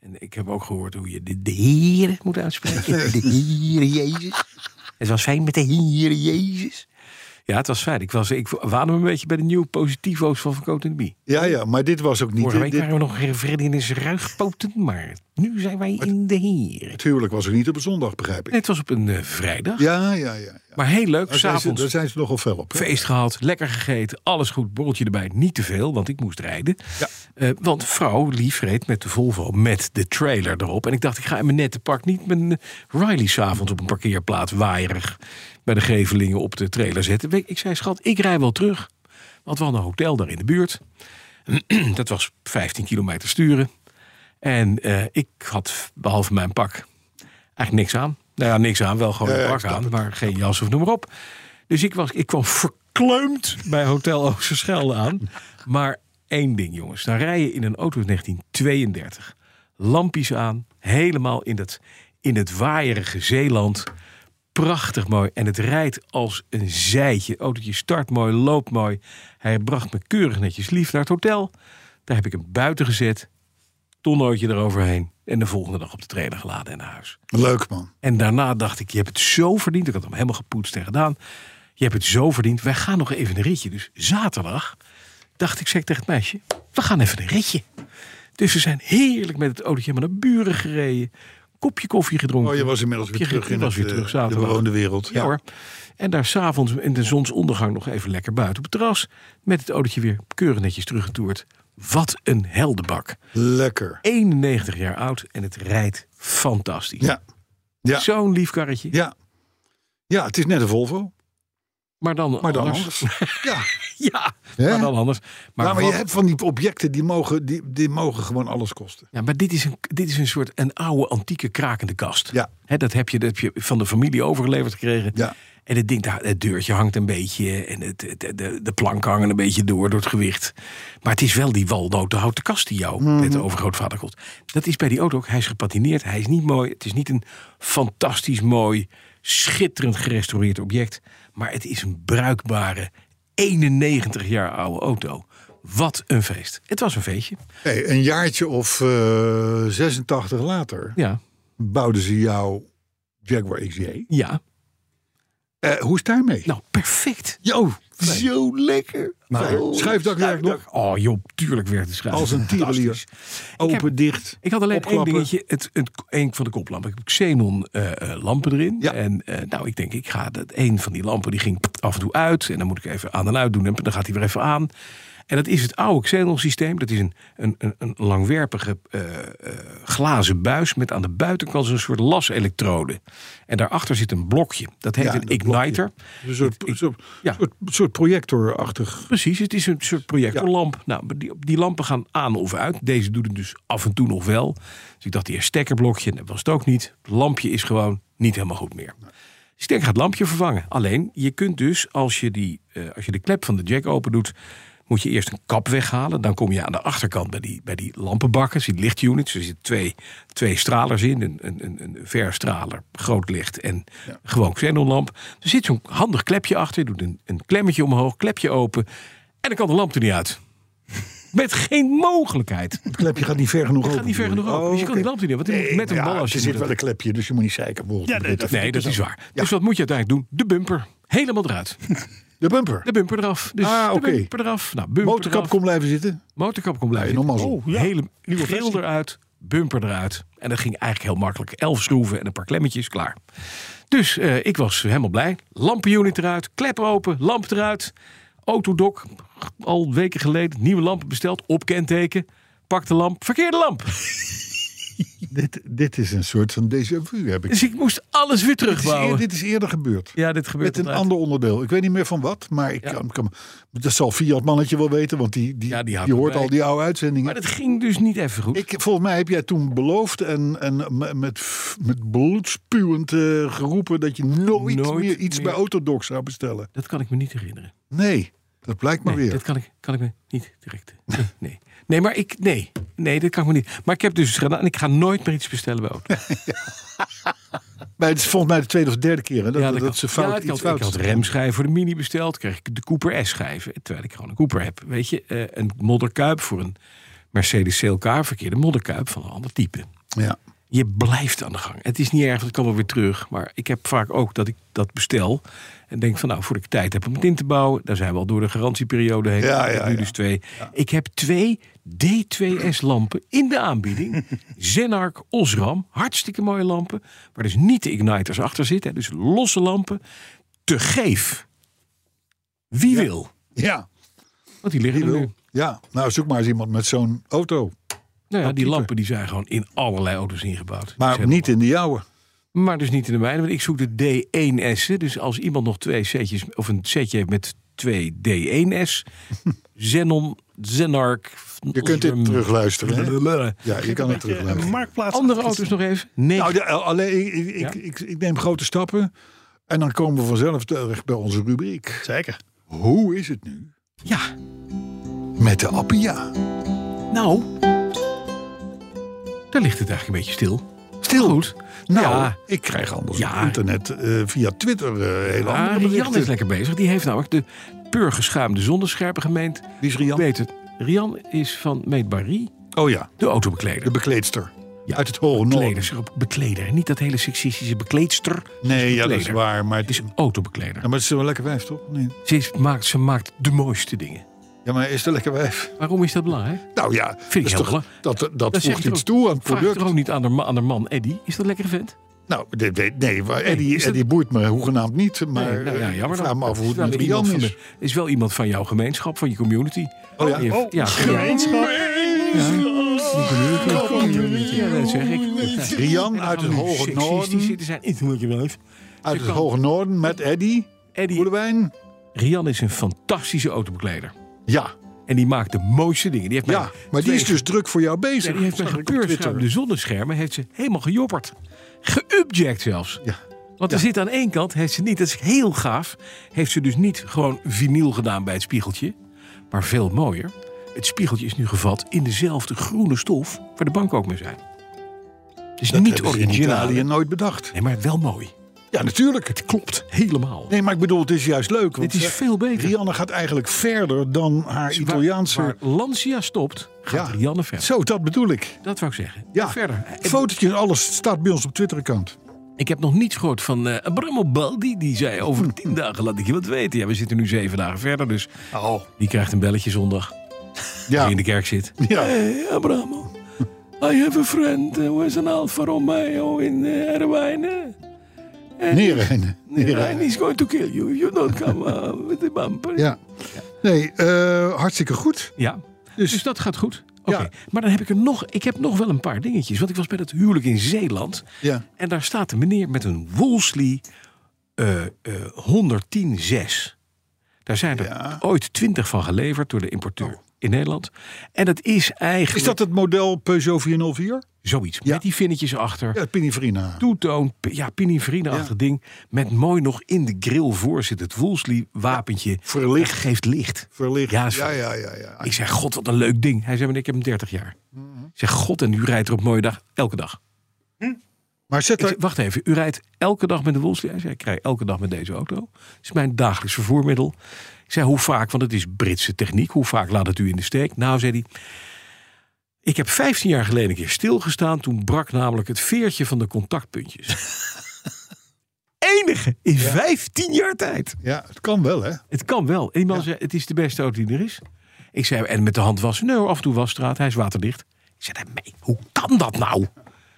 Speaker 2: en ik heb ook gehoord hoe je de, de Heer moet uitspreken. De Heer Jezus. Het was fijn met de Heer Jezus. Ja, het was fijn. Ik, was, ik waande me een beetje bij de nieuwe positivo's van Van Cote en Bie.
Speaker 3: Ja, ja, maar dit was ook niet.
Speaker 2: Vorige
Speaker 3: Dit,
Speaker 2: week waren we nog Ferdinand's ruigpoten, maar nu zijn wij in de heren.
Speaker 3: het huwelijk was ook niet op een zondag, begrijp ik.
Speaker 2: Het was op een eh, vrijdag,
Speaker 3: Ja, ja, ja. ja.
Speaker 2: maar heel leuk.
Speaker 3: Daar, zijn ze, daar
Speaker 2: S'avonds
Speaker 3: zijn ze nogal fel op. hè?
Speaker 2: feest gehad, lekker gegeten, alles goed, borreltje erbij. Niet te veel, want ik moest rijden.
Speaker 3: Ja.
Speaker 2: Eh, want vrouw lief reed met de Volvo, met de trailer erop. En ik dacht, ik ga in mijn nette pak niet mijn eh, Riley s'avonds op een parkeerplaats waaierig bij de gevelingen op de trailer zetten. Ik ik zei, schat, ik rij wel terug. Want we hadden een hotel daar in de buurt. Dat was 15 kilometer sturen. En eh, ik had behalve mijn pak eigenlijk niks aan. Nou ja, niks aan, wel gewoon
Speaker 3: Ja,
Speaker 2: een
Speaker 3: ja,
Speaker 2: pak
Speaker 3: ik snap
Speaker 2: aan,
Speaker 3: het.
Speaker 2: maar geen jas of noem maar op. Dus ik, was, ik kwam kleumt bij Hotel Oosterschelde aan. Maar één ding, jongens. Dan rij je in een auto uit 1932. Lampjes aan. Helemaal in het, in het waaierige Zeeland. Prachtig mooi. En het rijdt als een zijtje. Het autootje start mooi, loopt mooi. Hij bracht me keurig netjes lief naar het hotel. Daar heb ik hem buiten gezet. Tonnootje eroverheen. En de volgende dag op de trailer geladen en naar huis.
Speaker 3: Leuk man.
Speaker 2: En daarna dacht ik, je hebt het zo verdiend. Ik had hem helemaal gepoetst en gedaan. Je hebt het zo verdiend. Wij gaan nog even een ritje. Dus zaterdag dacht ik, zeg ik tegen het meisje, we gaan even een ritje. Dus we zijn heerlijk met het autootje helemaal naar buren gereden. Kopje koffie gedronken.
Speaker 3: Oh, je was inmiddels weer
Speaker 2: Je
Speaker 3: terug in
Speaker 2: was
Speaker 3: het,
Speaker 2: weer terug
Speaker 3: eh, de
Speaker 2: zaterdag.
Speaker 3: bewoonde wereld.
Speaker 2: Ja, hoor. En daar s'avonds in de zonsondergang nog even lekker buiten op het terras. Met het autootje weer keurig netjes teruggetoerd. Wat een heldenbak.
Speaker 3: Lekker.
Speaker 2: 91 jaar oud en het rijdt fantastisch.
Speaker 3: Ja. Ja.
Speaker 2: Zo'n lief karretje.
Speaker 3: Ja. Ja, het is net een Volvo.
Speaker 2: Maar dan,
Speaker 3: Maar dan
Speaker 2: anders.
Speaker 3: anders. Ja.
Speaker 2: Ja,
Speaker 3: Hè? Nou,
Speaker 2: maar dan anders. Maar,
Speaker 3: Maar, maar
Speaker 2: wat-
Speaker 3: je hebt van die objecten, die mogen, die, die mogen gewoon alles kosten.
Speaker 2: ja, maar dit, is een, dit is een soort een oude, antieke, krakende kast.
Speaker 3: Ja.
Speaker 2: Hè, dat, heb je, dat heb je van de familie overgeleverd gekregen.
Speaker 3: Ja.
Speaker 2: En het, ding, daar- het deurtje hangt een beetje. En het, het- de, de planken hangen een beetje door door het gewicht. Maar het is wel die walnotenhouten kast die jou
Speaker 3: Mhm.
Speaker 2: net overgrootvader kost. Dat is bij die auto ook. Hij is gepatineerd. Hij is niet mooi. Het is niet een fantastisch mooi, schitterend gerestaureerd object. Maar het is een bruikbare, 91 jaar oude auto. Wat een feest. Het was een feestje.
Speaker 3: Hey, een jaartje of eh, 86 later
Speaker 2: Ja,
Speaker 3: bouwden ze jouw Jaguar XJ.
Speaker 2: ja.
Speaker 3: Eh, hoe is het daarmee?
Speaker 2: Nou, perfect.
Speaker 3: Jo, zo lekker. Fijn. Schuifdakwerk nog.
Speaker 2: Oh joh, tuurlijk werd het schrijven.
Speaker 3: Als een tierelier.
Speaker 2: Fantastisch.
Speaker 3: Open,
Speaker 2: Ik heb-
Speaker 3: dicht.
Speaker 2: Ik had alleen één
Speaker 3: Opklappen.
Speaker 2: dingetje, het, het, een van de koplampen. Ik heb xenon eh, eh, lampen erin.
Speaker 3: Ja.
Speaker 2: En eh, nou, ik denk, ik ga dat een van die lampen die ging af en toe uit. En dan moet ik even aan en uit doen. En dan gaat hij weer even aan. En dat is het oude xenon systeem. Dat is een, een, een, een langwerpige eh, eh, glazen buis met aan de buitenkant zo'n soort laselektrode. En daarachter zit een blokje. Dat heet
Speaker 3: Ja,
Speaker 2: een
Speaker 3: dat
Speaker 2: igniter.
Speaker 3: Een soort,
Speaker 2: Ik- ik-
Speaker 3: soort,
Speaker 2: ja.
Speaker 3: soort, soort projectorachtig.
Speaker 2: Precies, het is een soort projectorlamp. Nou, maar die, die lampen gaan aan of uit. Deze doet het dus af en toe nog wel. Dus ik dacht, eerst stekkerblokje, dat was het ook niet. Het lampje is gewoon niet helemaal goed meer. Dus ik denk, ik ga het lampje vervangen. Alleen, je kunt dus, als je, die, eh, als je de klep van de jack open doet... moet je eerst een kap weghalen. Dan kom je aan de achterkant bij die, bij die lampenbakken. Zie je lichtunits, er zitten twee, twee stralers in. Een, een, een, een verstraler, groot licht en gewoon xenonlamp. Er zit zo'n handig klepje achter. Je doet een, een klemmetje omhoog, klepje open... En dan kan de lamp er niet uit. Met geen mogelijkheid.
Speaker 3: Het klepje gaat niet ver genoeg Oh,
Speaker 2: Het gaat niet ver genoeg open. dus je kan die lamp niet in. Want die moet met een bal als je
Speaker 3: Er
Speaker 2: moet
Speaker 3: zit wel een
Speaker 2: het-
Speaker 3: klepje, dus je moet niet zeiken. bijvoorbeeld.
Speaker 4: nee, dat-
Speaker 2: Nee, dat is waar. Dus wat moet je uiteindelijk doen? De bumper. Helemaal eruit.
Speaker 3: De bumper.
Speaker 2: De bumper eraf. Dus
Speaker 3: Ah,
Speaker 2: de
Speaker 3: oké.
Speaker 2: bumper eraf. Nou, bumper
Speaker 3: Motorkap
Speaker 2: eraf.
Speaker 3: kon blijven zitten.
Speaker 2: Motorkap komt blijven.
Speaker 3: Ja, normaal zo.
Speaker 2: oh, Hele
Speaker 4: Nieuwe
Speaker 2: grill
Speaker 4: versie.
Speaker 2: eruit, bumper eruit. En dat ging eigenlijk heel makkelijk. Elf schroeven en een paar klemmetjes, klaar. Dus eh, ik was helemaal blij. Lampenunit eruit, klep open, lamp eruit. Autodoc, al weken geleden, nieuwe lampen besteld, op kenteken. Pak de lamp, verkeerde lamp.
Speaker 3: Dit, dit is een soort van déjà vu, heb ik.
Speaker 2: Dus ik moest alles weer
Speaker 3: Dit is, eer-
Speaker 2: terugbouwen.
Speaker 3: dit is eerder gebeurd.
Speaker 2: Ja, dit gebeurt
Speaker 3: Met een
Speaker 2: altijd.
Speaker 3: ander onderdeel. Ik weet niet meer van wat, maar ik
Speaker 2: Ja.
Speaker 3: kan, kan, dat zal Fiat-mannetje wel weten, want die, die,
Speaker 2: Ja, die
Speaker 3: die,
Speaker 2: houdt
Speaker 3: hoort
Speaker 2: erbij.
Speaker 3: al die oude uitzendingen.
Speaker 2: Maar dat ging dus niet even goed.
Speaker 3: Ik, volgens mij heb jij toen beloofd en, en me- met, f- met bloedspuwend eh, geroepen dat je nooit,
Speaker 2: Nooit
Speaker 3: meer iets
Speaker 2: meer.
Speaker 3: bij Autodoc zou bestellen.
Speaker 2: Dat kan ik me niet herinneren.
Speaker 3: Nee, dat blijkt maar
Speaker 2: nee,
Speaker 3: weer.
Speaker 2: Dat kan ik, kan ik me niet direct. Nee, nee. nee, maar ik. Nee, nee, dat kan ik me niet. Maar ik heb dus gedaan. En ik ga nooit meer iets bestellen bij auto.
Speaker 3: Maar het is volgens mij de tweede of derde keer hè, dat, dat, ze fout
Speaker 2: ja, ik,
Speaker 3: iets
Speaker 2: had,
Speaker 3: fout
Speaker 2: ik had
Speaker 3: doen.
Speaker 2: remschijven voor de mini besteld. Kreeg ik de Cooper S schijven. Terwijl ik gewoon een Cooper heb. Weet je, eh, een modderkuip voor een Mercedes CLK. Verkeerde modderkuip van een ander type.
Speaker 3: Ja.
Speaker 2: je blijft aan de gang. Het is niet erg, want ik kan wel weer terug. Maar ik heb vaak ook dat ik dat bestel. En denk van nou, voordat ik tijd heb om het in te bouwen. Daar zijn we al door de garantieperiode heen.
Speaker 3: Ja,
Speaker 2: ik heb
Speaker 3: ja,
Speaker 2: nu
Speaker 3: ja.
Speaker 2: dus twee. Ik heb twee D2S lampen in de aanbieding. Zenark Osram. Hartstikke mooie lampen. Waar dus niet de igniters achter zitten. hè, Dus losse lampen. Te geef. Wie wil.
Speaker 3: ja,
Speaker 2: Want die liggen
Speaker 3: die
Speaker 2: er
Speaker 3: wil.
Speaker 2: nu.
Speaker 3: Ja, nou zoek maar eens iemand met zo'n auto.
Speaker 2: Nou ja, die
Speaker 3: type.
Speaker 2: lampen die zijn gewoon in allerlei auto's ingebouwd. Ze
Speaker 3: Maar
Speaker 2: hebben
Speaker 3: niet in de jouwe.
Speaker 2: Maar dus niet in de mijne, want ik zoek de D1S'en. Dus als iemand nog twee setjes, of een setje heeft met twee D1S, Zenon, Zenark.
Speaker 3: Je kunt dit terugluisteren. hè? Ja, je kan het
Speaker 4: Een
Speaker 3: terugluisteren.
Speaker 4: marktplaats.
Speaker 2: Andere auto's nog even? Nee.
Speaker 3: Nou, de- alleen, ik, ik,
Speaker 2: Ja?
Speaker 3: ik, ik, ik neem grote stappen. En dan komen we vanzelf terecht bij onze rubriek.
Speaker 4: Zeker.
Speaker 3: Hoe is het nu
Speaker 2: Ja,
Speaker 3: met de Appia?
Speaker 2: nou. Daar ligt het eigenlijk een beetje stil. Stil? Goed.
Speaker 3: Nou,
Speaker 2: ja.
Speaker 3: ik krijg anders
Speaker 2: Ja.
Speaker 3: op internet eh, via Twitter eh hele andere
Speaker 2: Ja, Rian Ah, is
Speaker 3: berichten.
Speaker 2: lekker bezig. Die heeft namelijk de purgeschaamde zonnescherpe gemeend.
Speaker 3: Wie is Rian?
Speaker 2: Weet het. Rian is van Meet Barry,
Speaker 3: Oh ja,
Speaker 2: de
Speaker 3: de
Speaker 2: autobekleder.
Speaker 3: bekleedster.
Speaker 2: Ja.
Speaker 3: Uit het hoge
Speaker 2: Bekleder,
Speaker 3: noorden.
Speaker 2: zeg op bekleder. Niet dat hele seksistische bekleedster.
Speaker 3: Nee, ja, dat is
Speaker 2: bekleder.
Speaker 3: waar. Maar het is, ja,
Speaker 2: Autobekleder.
Speaker 3: maar het is wel een lekker wijf, toch? Nee.
Speaker 2: Ze, is- maakt, ze maakt de mooiste dingen.
Speaker 3: Ja, maar is het een lekker wijf?
Speaker 2: Waarom is dat belangrijk?
Speaker 3: Nou ja,
Speaker 2: Vind ik
Speaker 3: dat, is
Speaker 2: heel
Speaker 3: toch,
Speaker 2: belangrijk.
Speaker 3: dat, dat
Speaker 2: zeg
Speaker 3: voegt
Speaker 2: je
Speaker 3: iets
Speaker 2: er
Speaker 3: toe aan het
Speaker 2: Vraag je
Speaker 3: product.
Speaker 2: er ook niet aan haar, ma- aan haar man Eddy. Is dat lekker vent?
Speaker 3: Nou, nee, nee, nee, maar Eddie,
Speaker 2: is dat-
Speaker 3: Eddie boeit me hoegenaamd niet. Maar
Speaker 2: Nee, nou ja,
Speaker 3: eh,
Speaker 2: jammer dan.
Speaker 3: vraag me af hoe het
Speaker 2: Wel
Speaker 3: met
Speaker 2: iemand
Speaker 3: Rian
Speaker 2: van
Speaker 3: is.
Speaker 2: de- is wel iemand van jouw gemeenschap, van je community.
Speaker 3: Oh ja.
Speaker 2: Die heeft-
Speaker 3: Oh,
Speaker 2: ja,
Speaker 4: Gemeenschap.
Speaker 2: Ja, dat zeg ik.
Speaker 3: Rian uit het hoge noorden.
Speaker 2: zitten zijn. Ik moet je wel even.
Speaker 3: Uit
Speaker 2: Ze
Speaker 3: het
Speaker 2: kan-
Speaker 3: hoge noorden met Eddie.
Speaker 2: Eddie,
Speaker 3: Boelewijn.
Speaker 2: Rian is een fantastische autobekleder.
Speaker 3: Ja,
Speaker 2: En die maakt de mooiste dingen. Die heeft mij
Speaker 3: ja, maar die
Speaker 2: twee-
Speaker 3: is dus druk voor jou bezig.
Speaker 2: Ja, die heeft
Speaker 3: zag
Speaker 2: mij
Speaker 3: ik op Twitter.
Speaker 2: gepeurschuimd. De zonneschermen heeft ze helemaal gejopperd. Geubject zelfs.
Speaker 3: Ja.
Speaker 2: Want er
Speaker 3: Ja.
Speaker 2: zit aan één kant, heeft ze niet, dat is heel gaaf, heeft ze dus niet gewoon vinyl gedaan bij het spiegeltje, maar veel mooier. Het spiegeltje is nu gevat in dezelfde groene stof waar de bank ook mee zijn. Het is
Speaker 3: Dat
Speaker 2: niet
Speaker 3: hebben ze in
Speaker 2: originaal.
Speaker 3: Italië nooit bedacht.
Speaker 2: Nee, maar wel mooi.
Speaker 3: Ja, natuurlijk.
Speaker 2: Het klopt helemaal.
Speaker 3: Nee, maar ik bedoel, het is juist leuk. Want
Speaker 2: Dit is
Speaker 3: eh,
Speaker 2: veel beter.
Speaker 3: Rianne gaat eigenlijk verder dan haar
Speaker 2: Waar-
Speaker 3: Italiaanse...
Speaker 2: Waar, Lancia stopt, gaat
Speaker 3: Ja.
Speaker 2: Rianne verder.
Speaker 3: Zo, dat bedoel ik.
Speaker 2: Dat wou ik zeggen.
Speaker 3: Ja,
Speaker 2: Verder.
Speaker 3: Fotootjes, alles staat bij ons op Twitter-account.
Speaker 2: Ik heb nog niets gehoord van eh Abramo Baldi. Die zei over
Speaker 3: Hmm.
Speaker 2: tien dagen laat ik je wat weten. Ja, we zitten nu zeven dagen verder, dus
Speaker 3: Oh.
Speaker 2: die krijgt een belletje zondag.
Speaker 3: Ja,
Speaker 2: Die in de kerk zit.
Speaker 3: ja.
Speaker 2: Hey, Abramo. I have a friend uh, who is an Alfa Romeo in uh, Erwijnen.
Speaker 3: Neerijnen.
Speaker 2: And
Speaker 3: Neerijnen.
Speaker 2: he's going to kill you. if You don't come uh, with the bumper.
Speaker 3: Ja. Nee, eh, hartstikke goed.
Speaker 2: Ja, dus, dat gaat goed. Oké,
Speaker 3: Ja.
Speaker 2: maar dan heb ik er nog, ik heb nog wel een paar dingetjes. Want ik was bij dat huwelijk in Zeeland.
Speaker 3: Ja.
Speaker 2: En daar staat een meneer met een Wolseley eh eh 110-6. Daar zijn er
Speaker 3: Ja. Oh.
Speaker 2: ooit 20 van geleverd door de importeur in Nederland. En dat is eigenlijk
Speaker 3: Is dat het model Peugeot 404?
Speaker 2: zoiets.
Speaker 3: Ja.
Speaker 2: Met die vinnetjes achter.
Speaker 3: Ja, het Pininfarina.
Speaker 2: Toetoon, p- ja, pinivrineachtig
Speaker 3: Ja.
Speaker 2: ding. Met mooi nog in de grill voor zit het Wolseley-wapentje.
Speaker 3: Verlicht.
Speaker 2: Het geeft licht.
Speaker 3: Verlicht.
Speaker 2: Ja,
Speaker 3: Ja,
Speaker 2: is-
Speaker 3: ja, ja, ja.
Speaker 2: Ik zei, god, wat een leuk ding. Hij zei, maar ik heb hem 30 jaar.
Speaker 3: Mhm.
Speaker 2: Ik zeg, god, en u rijdt er op mooie dag, elke dag.
Speaker 3: Maar zet
Speaker 2: Ik
Speaker 3: er...
Speaker 2: zeg, wacht even, u rijdt elke dag met de Wolseley? Hij zei, ik rij elke dag met deze auto. Het is mijn dagelijks vervoermiddel. Ik zei, hoe vaak, want het is Britse techniek. Hoe vaak laat het u in de steek? Nou, zei hij, ik heb 15 jaar geleden een keer stilgestaan. Toen brak namelijk het veertje van de contactpuntjes. Enige in 15 jaar tijd.
Speaker 3: Ja, het kan wel, hè?
Speaker 2: Het kan wel. En die man zei, het is de beste auto die er is. Ik zei, en met de hand wassen? Nee hoor, af en toe wasstraat, hij is waterdicht. Ik zei, nee, hoe kan dat nou?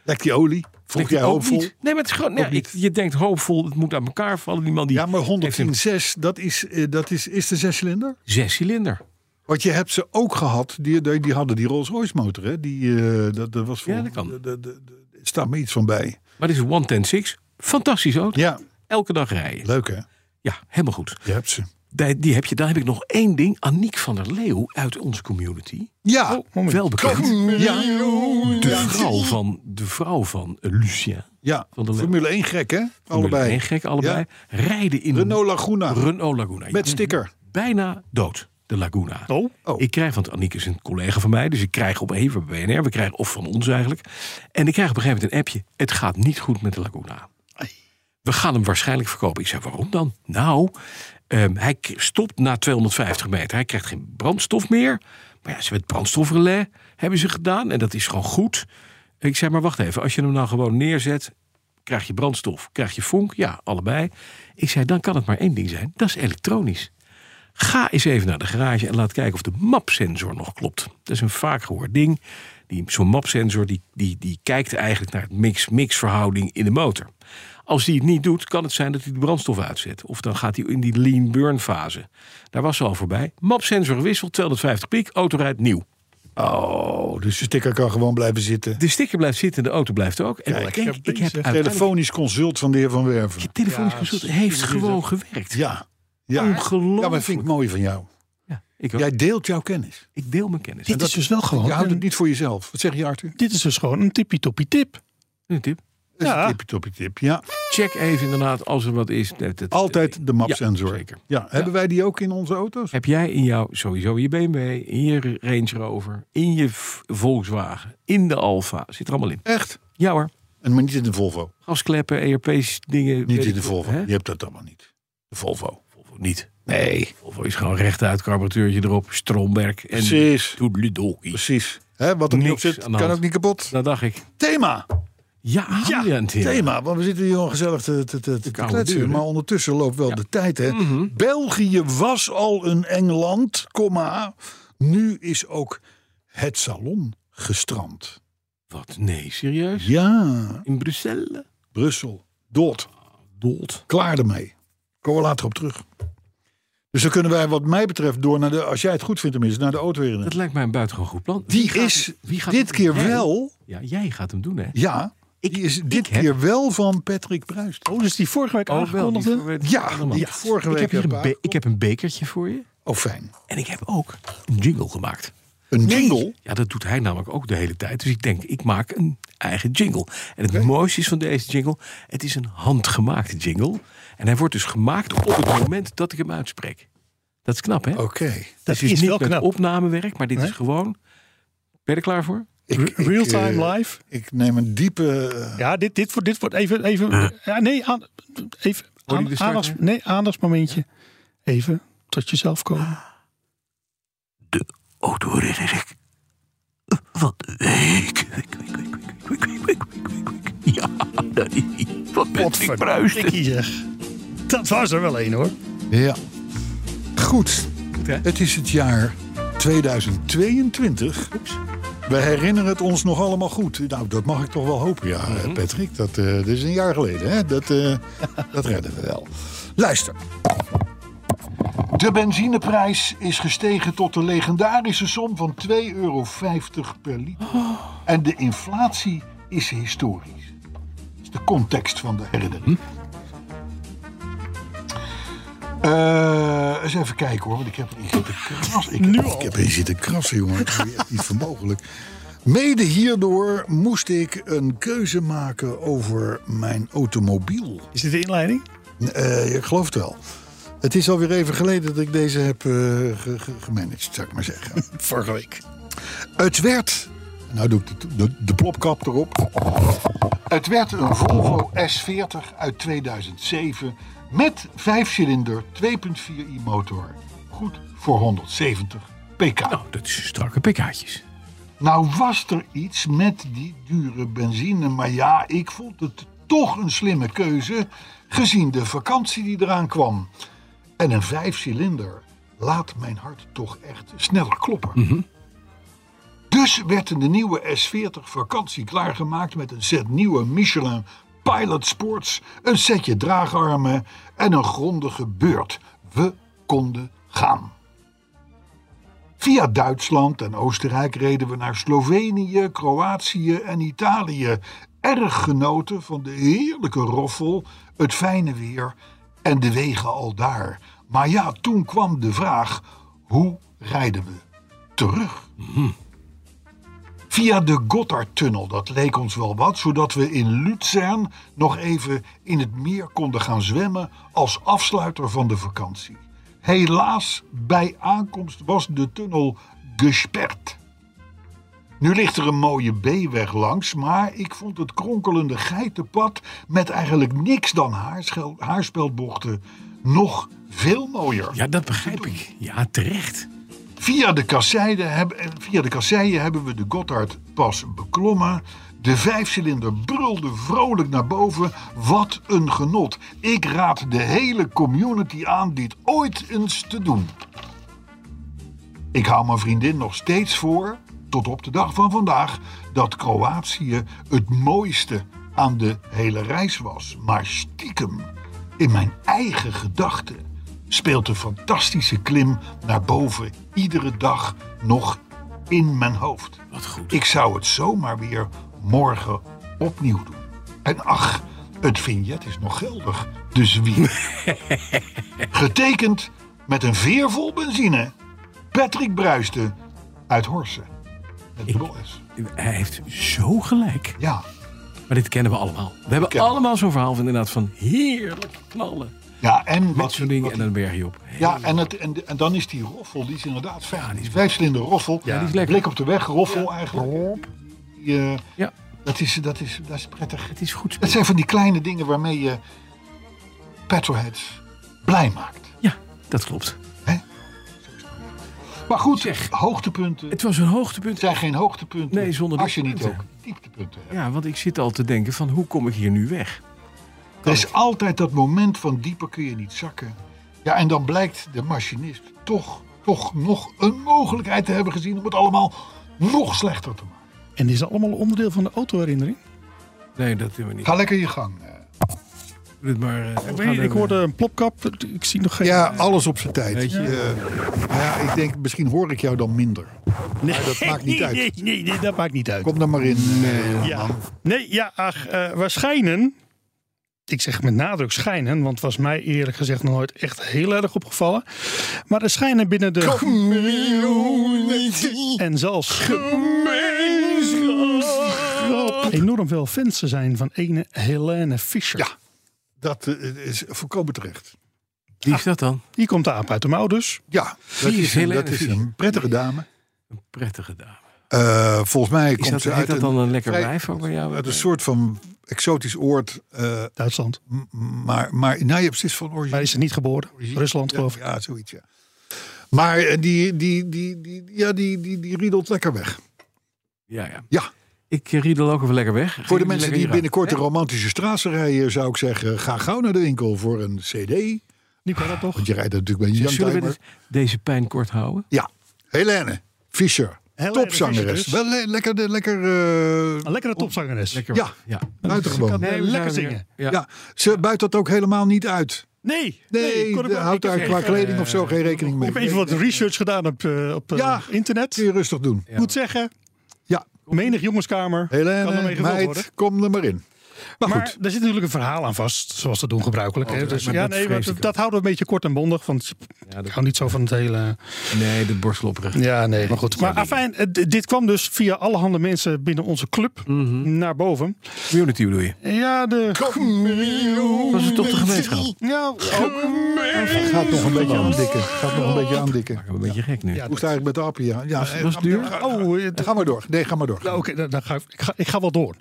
Speaker 3: Lek die olie. Vroeg
Speaker 2: Lijkt het
Speaker 3: jij
Speaker 2: ook
Speaker 3: hoopvol.
Speaker 2: niet. Nee, maar het is gewoon,
Speaker 3: Ook
Speaker 2: nee, ik,
Speaker 3: niet.
Speaker 2: je denkt hoopvol, het moet aan elkaar vallen. Die man die
Speaker 3: Ja, maar
Speaker 2: heeft een
Speaker 3: 110.6, dat is, eh, dat is, is de zescilinder?
Speaker 2: zescilinder.
Speaker 3: Want je hebt ze ook gehad, die, die, die hadden die Rolls Royce motor, hè? Die, eh, dat, dat was voor,
Speaker 2: Ja, dat kan.
Speaker 3: de- de- de- de- er staat me iets van bij.
Speaker 2: Maar dit is een 110.6. Fantastisch auto.
Speaker 3: Ja,
Speaker 2: Elke dag rijden.
Speaker 3: leuk hè?
Speaker 2: Ja, helemaal goed.
Speaker 3: Je hebt ze.
Speaker 2: Die, die heb je, daar heb ik nog één ding. Aniek van der Leeuw uit onze community. Oh,
Speaker 3: Ja,
Speaker 2: Wel bekend.
Speaker 3: ja,
Speaker 2: De vrouw van, de vrouw van eh, Lucien.
Speaker 3: ja.
Speaker 2: Van de-
Speaker 3: Formule 1 gek hè? Allebei.
Speaker 2: Een gek, allebei. Rijden in
Speaker 3: Renault Laguna,
Speaker 2: Renault Laguna.
Speaker 3: met sticker.
Speaker 2: bijna dood, de Laguna.
Speaker 4: Oh.
Speaker 3: Oh.
Speaker 2: Ik krijg, want Aniek is een collega van mij, dus ik krijg op even bij BNR, we krijgen, of van ons eigenlijk. En ik krijg op een gegeven moment een appje: het gaat niet goed met de Laguna. We gaan hem waarschijnlijk verkopen. Ik zei: waarom dan? Nou, ehm, hij k- stopt na 250 meter. Hij krijgt geen brandstof meer. Maar ja, ze hebben het brandstofrelais hebben ze gedaan en dat is gewoon goed. Ik zei: maar wacht even, als je hem nou gewoon neerzet. Krijg je brandstof, krijg je vonk? Ja, allebei. Ik zei, dan kan het maar één ding zijn. Dat is elektronisch. Ga eens even naar de garage en laat kijken of de mapsensor nog klopt. Dat is een vaak gehoord ding. Die- Zo'n mapsensor die, die, die kijkt eigenlijk naar het mix-mix verhouding in de motor. Als die het niet doet, kan het zijn dat hij de brandstof uitzet. Of dan gaat hij in die lean burn fase. Daar was ze al voorbij. Mapsensor gewisseld, 250 piek, auto rijdt nieuw.
Speaker 3: Oh, dus de sticker kan gewoon blijven zitten.
Speaker 2: De sticker blijft zitten, de auto blijft ook. En ik denk, ik heb uiteindelijk...
Speaker 3: Telefonisch consult van de heer Van Werven.
Speaker 2: Telefonisch consult heeft gewoon gewerkt.
Speaker 3: Ja, ja.
Speaker 2: Ongelooflijk.
Speaker 3: Ja, maar vind ik mooi van jou.
Speaker 2: Ja, ik, ook.
Speaker 3: Jij deelt jouw kennis.
Speaker 2: ik deel mijn kennis.
Speaker 4: Dit is dus wel gewoon.
Speaker 3: Je houdt het
Speaker 4: een-
Speaker 3: niet voor jezelf. Wat zeg je Arthur?
Speaker 4: Dit is dus gewoon een tippie-toppie tip.
Speaker 2: Een tip.
Speaker 3: Dat is
Speaker 4: Ja.
Speaker 3: een tipje topje tip. Ja,
Speaker 2: Check even inderdaad als er wat is. Dat- dat-
Speaker 3: altijd de map
Speaker 2: Ja,
Speaker 3: sensor.
Speaker 2: zeker.
Speaker 3: Ja, hebben wij die ook in onze auto's?
Speaker 2: Heb jij in jouw, sowieso in je BMW, in je Range Rover, in je V- Volkswagen, in de Alfa. Zit er allemaal in.
Speaker 3: Echt?
Speaker 2: Ja hoor.
Speaker 3: En maar niet in de Volvo.
Speaker 2: Gaskleppen, ERP's, dingen. weet
Speaker 3: Niet in
Speaker 2: ik
Speaker 3: de
Speaker 2: veel,
Speaker 3: Volvo.
Speaker 2: hè?
Speaker 3: Je hebt dat allemaal niet. De Volvo.
Speaker 2: Volvo niet.
Speaker 3: Nee.
Speaker 2: Volvo is gewoon rechtuit, carburateurtje erop, Stromberg en
Speaker 3: Precies.
Speaker 2: toedeledokie.
Speaker 3: Precies. Hè, wat er niet op
Speaker 2: Niks
Speaker 3: zit,
Speaker 2: aan de
Speaker 3: kan
Speaker 2: hand.
Speaker 3: ook niet kapot.
Speaker 2: Dat dacht ik.
Speaker 3: Thema.
Speaker 2: Ja,
Speaker 3: Ja,
Speaker 2: Adriaan, Tim.
Speaker 3: thema. Want we zitten hier gewoon gezellig te, te, te, te
Speaker 2: koude Mhm.
Speaker 3: kletsen.
Speaker 2: duur, hè?
Speaker 3: maar ondertussen loopt wel de tijd. Hè. België was al een Engeland, komma. Nu is ook het salon gestrand.
Speaker 2: Wat? Nee, serieus?
Speaker 3: Ja,
Speaker 2: In Brussel?
Speaker 3: Brussel. Dood.
Speaker 2: Dood.
Speaker 3: Klaar ermee. Komen we later op terug. Dus dan kunnen wij wat mij betreft door naar de... Als jij het goed vindt tenminste, naar de auto weer.
Speaker 2: Dat
Speaker 3: in.
Speaker 2: lijkt mij een buitengewoon goed plan. Wie
Speaker 3: Die
Speaker 2: gaat
Speaker 3: is
Speaker 2: hem- wie gaat
Speaker 3: dit
Speaker 2: hem-
Speaker 3: keer
Speaker 2: Jij?
Speaker 3: wel...
Speaker 2: Ja, jij gaat hem doen, hè?
Speaker 3: Ja, die is dit
Speaker 2: heb-
Speaker 3: keer wel van Patrick Bruist.
Speaker 4: Oh, dus die vorige week
Speaker 2: Oh, wel. die
Speaker 4: aangekondigde.
Speaker 2: voorwerp-
Speaker 3: Ja,
Speaker 2: allemaal.
Speaker 3: die vorige
Speaker 2: Ik heb,
Speaker 3: week
Speaker 2: hier
Speaker 3: heb
Speaker 2: een be-
Speaker 3: aangekondigd.
Speaker 2: ik heb een bekertje voor je.
Speaker 3: Oh, fijn.
Speaker 2: En ik heb ook een jingle gemaakt.
Speaker 3: Een jingle.
Speaker 2: Ja, dat doet hij namelijk ook de hele tijd. Dus ik denk, ik maak een eigen jingle. En het mooiste is van deze jingle, het is een handgemaakte jingle. En hij wordt dus gemaakt op het moment dat ik hem uitspreek. Dat is knap, hè?
Speaker 3: Oké.
Speaker 4: Dat
Speaker 2: Dus het is
Speaker 4: is
Speaker 2: niet
Speaker 4: wel
Speaker 2: met
Speaker 4: knap.
Speaker 2: opnamewerk, maar dit
Speaker 4: Nee.
Speaker 2: is gewoon... Ben je er klaar voor?
Speaker 3: Ik- ik,
Speaker 4: Real-time
Speaker 3: eh,
Speaker 4: live.
Speaker 3: Ik neem een diepe. eh,
Speaker 4: Ja, dit, dit, wordt, dit wordt even... even ja, nee, aan, even
Speaker 2: Hoor je
Speaker 4: aan-
Speaker 2: de start
Speaker 4: aandachts,
Speaker 2: weer?
Speaker 4: nee, aandachtsmomentje. Even tot jezelf komen.
Speaker 2: de autoherinnering van de
Speaker 3: eh,
Speaker 2: week. Week, week, week, week, week, week, week, week, week. Ja, nee. Wat ben ik bruist.
Speaker 4: Dikkie zeg. Dat was er wel één hoor.
Speaker 3: ja. Goed.
Speaker 2: hè?
Speaker 3: Het is het jaar 2022. We herinneren het ons nog allemaal goed. Nou, dat mag ik toch wel hopen, ja, Patrick. Dat, eh, dat is een jaar geleden, hè? Dat, eh, dat redden we wel. Luister. De benzineprijs is gestegen tot de legendarische som van 2,50 euro per liter. En de inflatie is historisch. Dat is de context van de herinnering. Eh, eens even kijken hoor, want ik heb erin zitten krassen. Ik, heb- ik heb erin zitten krassen, jongen. Dat is echt niet vermogelijk. Mede hierdoor moest ik een keuze maken over mijn automobiel.
Speaker 4: Is dit de inleiding?
Speaker 3: Eh, ik geloof het wel. Het is alweer even geleden dat ik deze heb eh, ge- ge- gemanaged, zou ik maar zeggen.
Speaker 4: Vorige week.
Speaker 3: Het werd. Nou doe ik de, de, de plopkap erop. Het werd een Volvo S40 uit 2007 met 5-cilinder 2.4i motor. Goed voor 170 pk.
Speaker 2: Nou, dat is strakke pk'tjes.
Speaker 3: Nou was er iets met die dure benzine, maar ja, ik vond het toch een slimme keuze gezien de vakantie die eraan kwam. En een vijfcilinder laat mijn hart toch echt sneller kloppen. Dus werd de nieuwe S40 vakantie klaargemaakt met een set nieuwe Michelin Pilot Sports, een setje draagarmen en een grondige beurt. We konden gaan. Via Duitsland en Oostenrijk reden we naar Slovenië, Kroatië en Italië. Erg genoten van de heerlijke roffel, het fijne weer en de wegen al daar. Maar ja, toen kwam de vraag: hoe rijden we terug? Via de Gotthardtunnel, dat leek ons wel wat, zodat we in Luzern nog even in het meer konden gaan zwemmen als afsluiter van de vakantie. Helaas, bij aankomst was de tunnel gesperd. Nu ligt er een mooie B-weg langs, maar ik vond het kronkelende geitenpad met eigenlijk niks dan haarschel- haarspeldbochten nog veel mooier.
Speaker 2: Ja, dat begrijp ik. Ja, terecht.
Speaker 3: Via de, kasseien hebben, eh, via de kasseien hebben we de Gotthard pas beklommen. De vijfcilinder brulde vrolijk naar boven. Wat een genot. Ik raad de hele community aan dit ooit eens te doen. Ik hou mijn vriendin nog steeds voor, tot op de dag van vandaag, dat Kroatië het mooiste aan de hele reis was. Maar stiekem, in mijn eigen gedachten, speelt de fantastische klim naar boven iedere dag nog in mijn hoofd.
Speaker 2: Wat goed.
Speaker 3: Ik zou het zomaar weer morgen opnieuw doen. En ach, het vignet is nog geldig, dus wie? Getekend met een veer vol benzine. Patrick Bruisten uit Horsen. Met dubbel S.
Speaker 2: Hij heeft zo gelijk.
Speaker 3: Ja.
Speaker 2: Maar dit kennen we allemaal. We hebben
Speaker 3: Kennen we.
Speaker 2: allemaal zo'n verhaal van inderdaad van heerlijk knallen.
Speaker 3: Ja, en
Speaker 2: Met
Speaker 3: wat
Speaker 2: zo'n
Speaker 3: die-
Speaker 2: ding
Speaker 3: wat
Speaker 2: en dan berg je op.
Speaker 3: Ja, en, het, en, de- en dan is die roffel, die is inderdaad fijn. die is vijfcilinder roffel.
Speaker 2: Ja, die is lekker.
Speaker 3: Blik op de weg, roffel eigenlijk. Die, eh,
Speaker 2: Ja.
Speaker 3: dat, is, dat, is, dat is prettig.
Speaker 2: Het is goed
Speaker 3: Dat
Speaker 2: spelen.
Speaker 3: zijn van die kleine dingen waarmee je petrolheads blij maakt.
Speaker 2: Ja, dat klopt.
Speaker 3: Maar goed,
Speaker 2: Zeg.
Speaker 3: hoogtepunten
Speaker 2: Het was een hoogtepunt.
Speaker 3: zijn geen hoogtepunten.
Speaker 2: Nee, zonder
Speaker 3: als je niet ook
Speaker 2: dieptepunten.
Speaker 3: dieptepunten hebt.
Speaker 2: Ja, want ik zit al te denken van hoe kom ik hier nu weg?
Speaker 3: Er is altijd dat moment van dieper kun je niet zakken. Ja, en dan blijkt de machinist toch, toch nog een mogelijkheid te hebben gezien... om het allemaal nog slechter te maken.
Speaker 4: En is dat allemaal onderdeel van de autoherinnering?
Speaker 2: Nee, dat doen we niet.
Speaker 3: Ga lekker je gang. eh.
Speaker 2: Doe het maar, eh, we
Speaker 4: Ik,
Speaker 2: gaan
Speaker 4: weet, ik
Speaker 2: even-
Speaker 4: hoorde een plopkap. Ik zie nog geen...
Speaker 3: Ja, alles op zijn
Speaker 2: Weet
Speaker 3: tijd.
Speaker 2: je?
Speaker 3: Eh, nou ja, ik denk, misschien hoor ik jou dan minder.
Speaker 4: nee,
Speaker 3: dat maakt niet uit.
Speaker 4: Nee, nee, nee, dat maakt niet uit.
Speaker 3: Kom dan maar in. eh,
Speaker 4: Ja.
Speaker 3: man.
Speaker 4: Nee, ja, ach, eh, waarschijnen. Ik zeg met nadruk schijnen, want was mij eerlijk gezegd nog nooit echt heel erg opgevallen. Maar er schijnen binnen de. En zelfs.
Speaker 3: Oh.
Speaker 4: Enorm veel fans te zijn van ene Helene Fischer.
Speaker 3: Ja. Dat eh, is voorkomen terecht.
Speaker 2: Wie is dat dan?
Speaker 4: Die komt de aap uit de mouw dus.
Speaker 3: Ja, dat
Speaker 2: Die is
Speaker 3: is, een,
Speaker 2: heel
Speaker 3: dat
Speaker 2: erg
Speaker 3: is
Speaker 2: vies.
Speaker 3: een prettige dame.
Speaker 2: Een prettige dame.
Speaker 3: Eh, volgens mij
Speaker 2: Is
Speaker 3: komt
Speaker 2: dat,
Speaker 3: ze
Speaker 2: heet
Speaker 3: uit
Speaker 2: dat
Speaker 3: een,
Speaker 2: dan een lekker
Speaker 3: vrij-
Speaker 2: wijf ook bij jou?
Speaker 3: uit een soort van exotisch oord. eh,
Speaker 4: Duitsland.
Speaker 3: m- maar, maar nou, je hebt precies van
Speaker 4: Maar
Speaker 3: origine.
Speaker 4: is er niet geboren. Rusland geloof ik.
Speaker 3: Ja, ja, zoiets, ja. Maar eh, die, die, die, die, ja, die, die, die riedelt lekker weg.
Speaker 2: Ja, ja.
Speaker 3: Ja.
Speaker 2: Ik eh, riedel ook even lekker weg. Ga
Speaker 3: Voor de
Speaker 2: jullie
Speaker 3: mensen
Speaker 2: lekker
Speaker 3: die
Speaker 2: hier
Speaker 3: binnenkort de
Speaker 2: aan.
Speaker 3: romantische straatsen rijden, zou ik zeggen: ga gauw naar de winkel voor een CD.
Speaker 4: Die kan dat toch?
Speaker 3: Want je rijdt natuurlijk bij
Speaker 2: Zeg, Zullen we
Speaker 3: Jan
Speaker 2: dit- deze pijn kort houden?
Speaker 3: Ja, Helene Fischer,
Speaker 4: Helene
Speaker 3: topzangeres.
Speaker 4: Fischer dus.
Speaker 3: Wel le- lekker, de, lekker,
Speaker 4: Een
Speaker 3: eh
Speaker 4: lekkere topzangeres.
Speaker 2: Lekker
Speaker 3: Ja.
Speaker 2: weg. ja.
Speaker 3: buitengewoon.
Speaker 4: Nee,
Speaker 2: we zijn
Speaker 4: lekker
Speaker 2: weer-
Speaker 4: zingen.
Speaker 2: Ja.
Speaker 3: Ja, ze buit dat ook helemaal niet uit.
Speaker 4: Nee,
Speaker 3: Nee,
Speaker 4: kon ik
Speaker 3: de-
Speaker 4: ook-
Speaker 3: houdt
Speaker 4: ik
Speaker 3: daar
Speaker 4: heb
Speaker 3: qua
Speaker 4: even-
Speaker 3: kleding of zo geen rekening mee.
Speaker 4: Ik heb even wat research gedaan op, eh, op eh,
Speaker 3: Ja.
Speaker 4: internet.
Speaker 3: Kun je rustig doen.
Speaker 4: moet zeggen,
Speaker 3: Ja,
Speaker 4: menig jongenskamer kan ermee
Speaker 3: Helene,
Speaker 4: gevuld worden.
Speaker 3: meid, kom er maar in. Maar
Speaker 4: Maar
Speaker 3: goed, Oh,
Speaker 4: daar zit natuurlijk een verhaal aan vast, zoals dat doen gebruikelijk. hè. Dus,
Speaker 2: maar
Speaker 4: ja,
Speaker 2: dat
Speaker 4: nee,
Speaker 2: vrees
Speaker 4: maar
Speaker 2: ik
Speaker 4: dat houden we een beetje kort en bondig, want
Speaker 2: dat-
Speaker 4: ik hou niet zo van het hele...
Speaker 2: Nee, de borsteloprecht.
Speaker 4: Ja, nee, maar goed. Maar afijn, eh, d- dit kwam dus via allerhande mensen binnen onze club naar boven.
Speaker 2: Community bedoel je?
Speaker 4: Ja, de...
Speaker 2: Was het toch de gemeenschap?
Speaker 4: Ja, oh. ook.
Speaker 3: gaat nog een beetje aandikken. Gaat nog een beetje aandikken.
Speaker 2: Ik ben een beetje gek nu.
Speaker 4: Ja,
Speaker 3: Hoe sta ik met de appie? Ja, ja eh,
Speaker 2: was het duur?
Speaker 3: ga-
Speaker 4: Oh, eh, d-
Speaker 3: Ga maar door. Nee, ga maar door.
Speaker 4: Nou, Oké, dan, dan ga ik, ik, ga, ik ga wel door.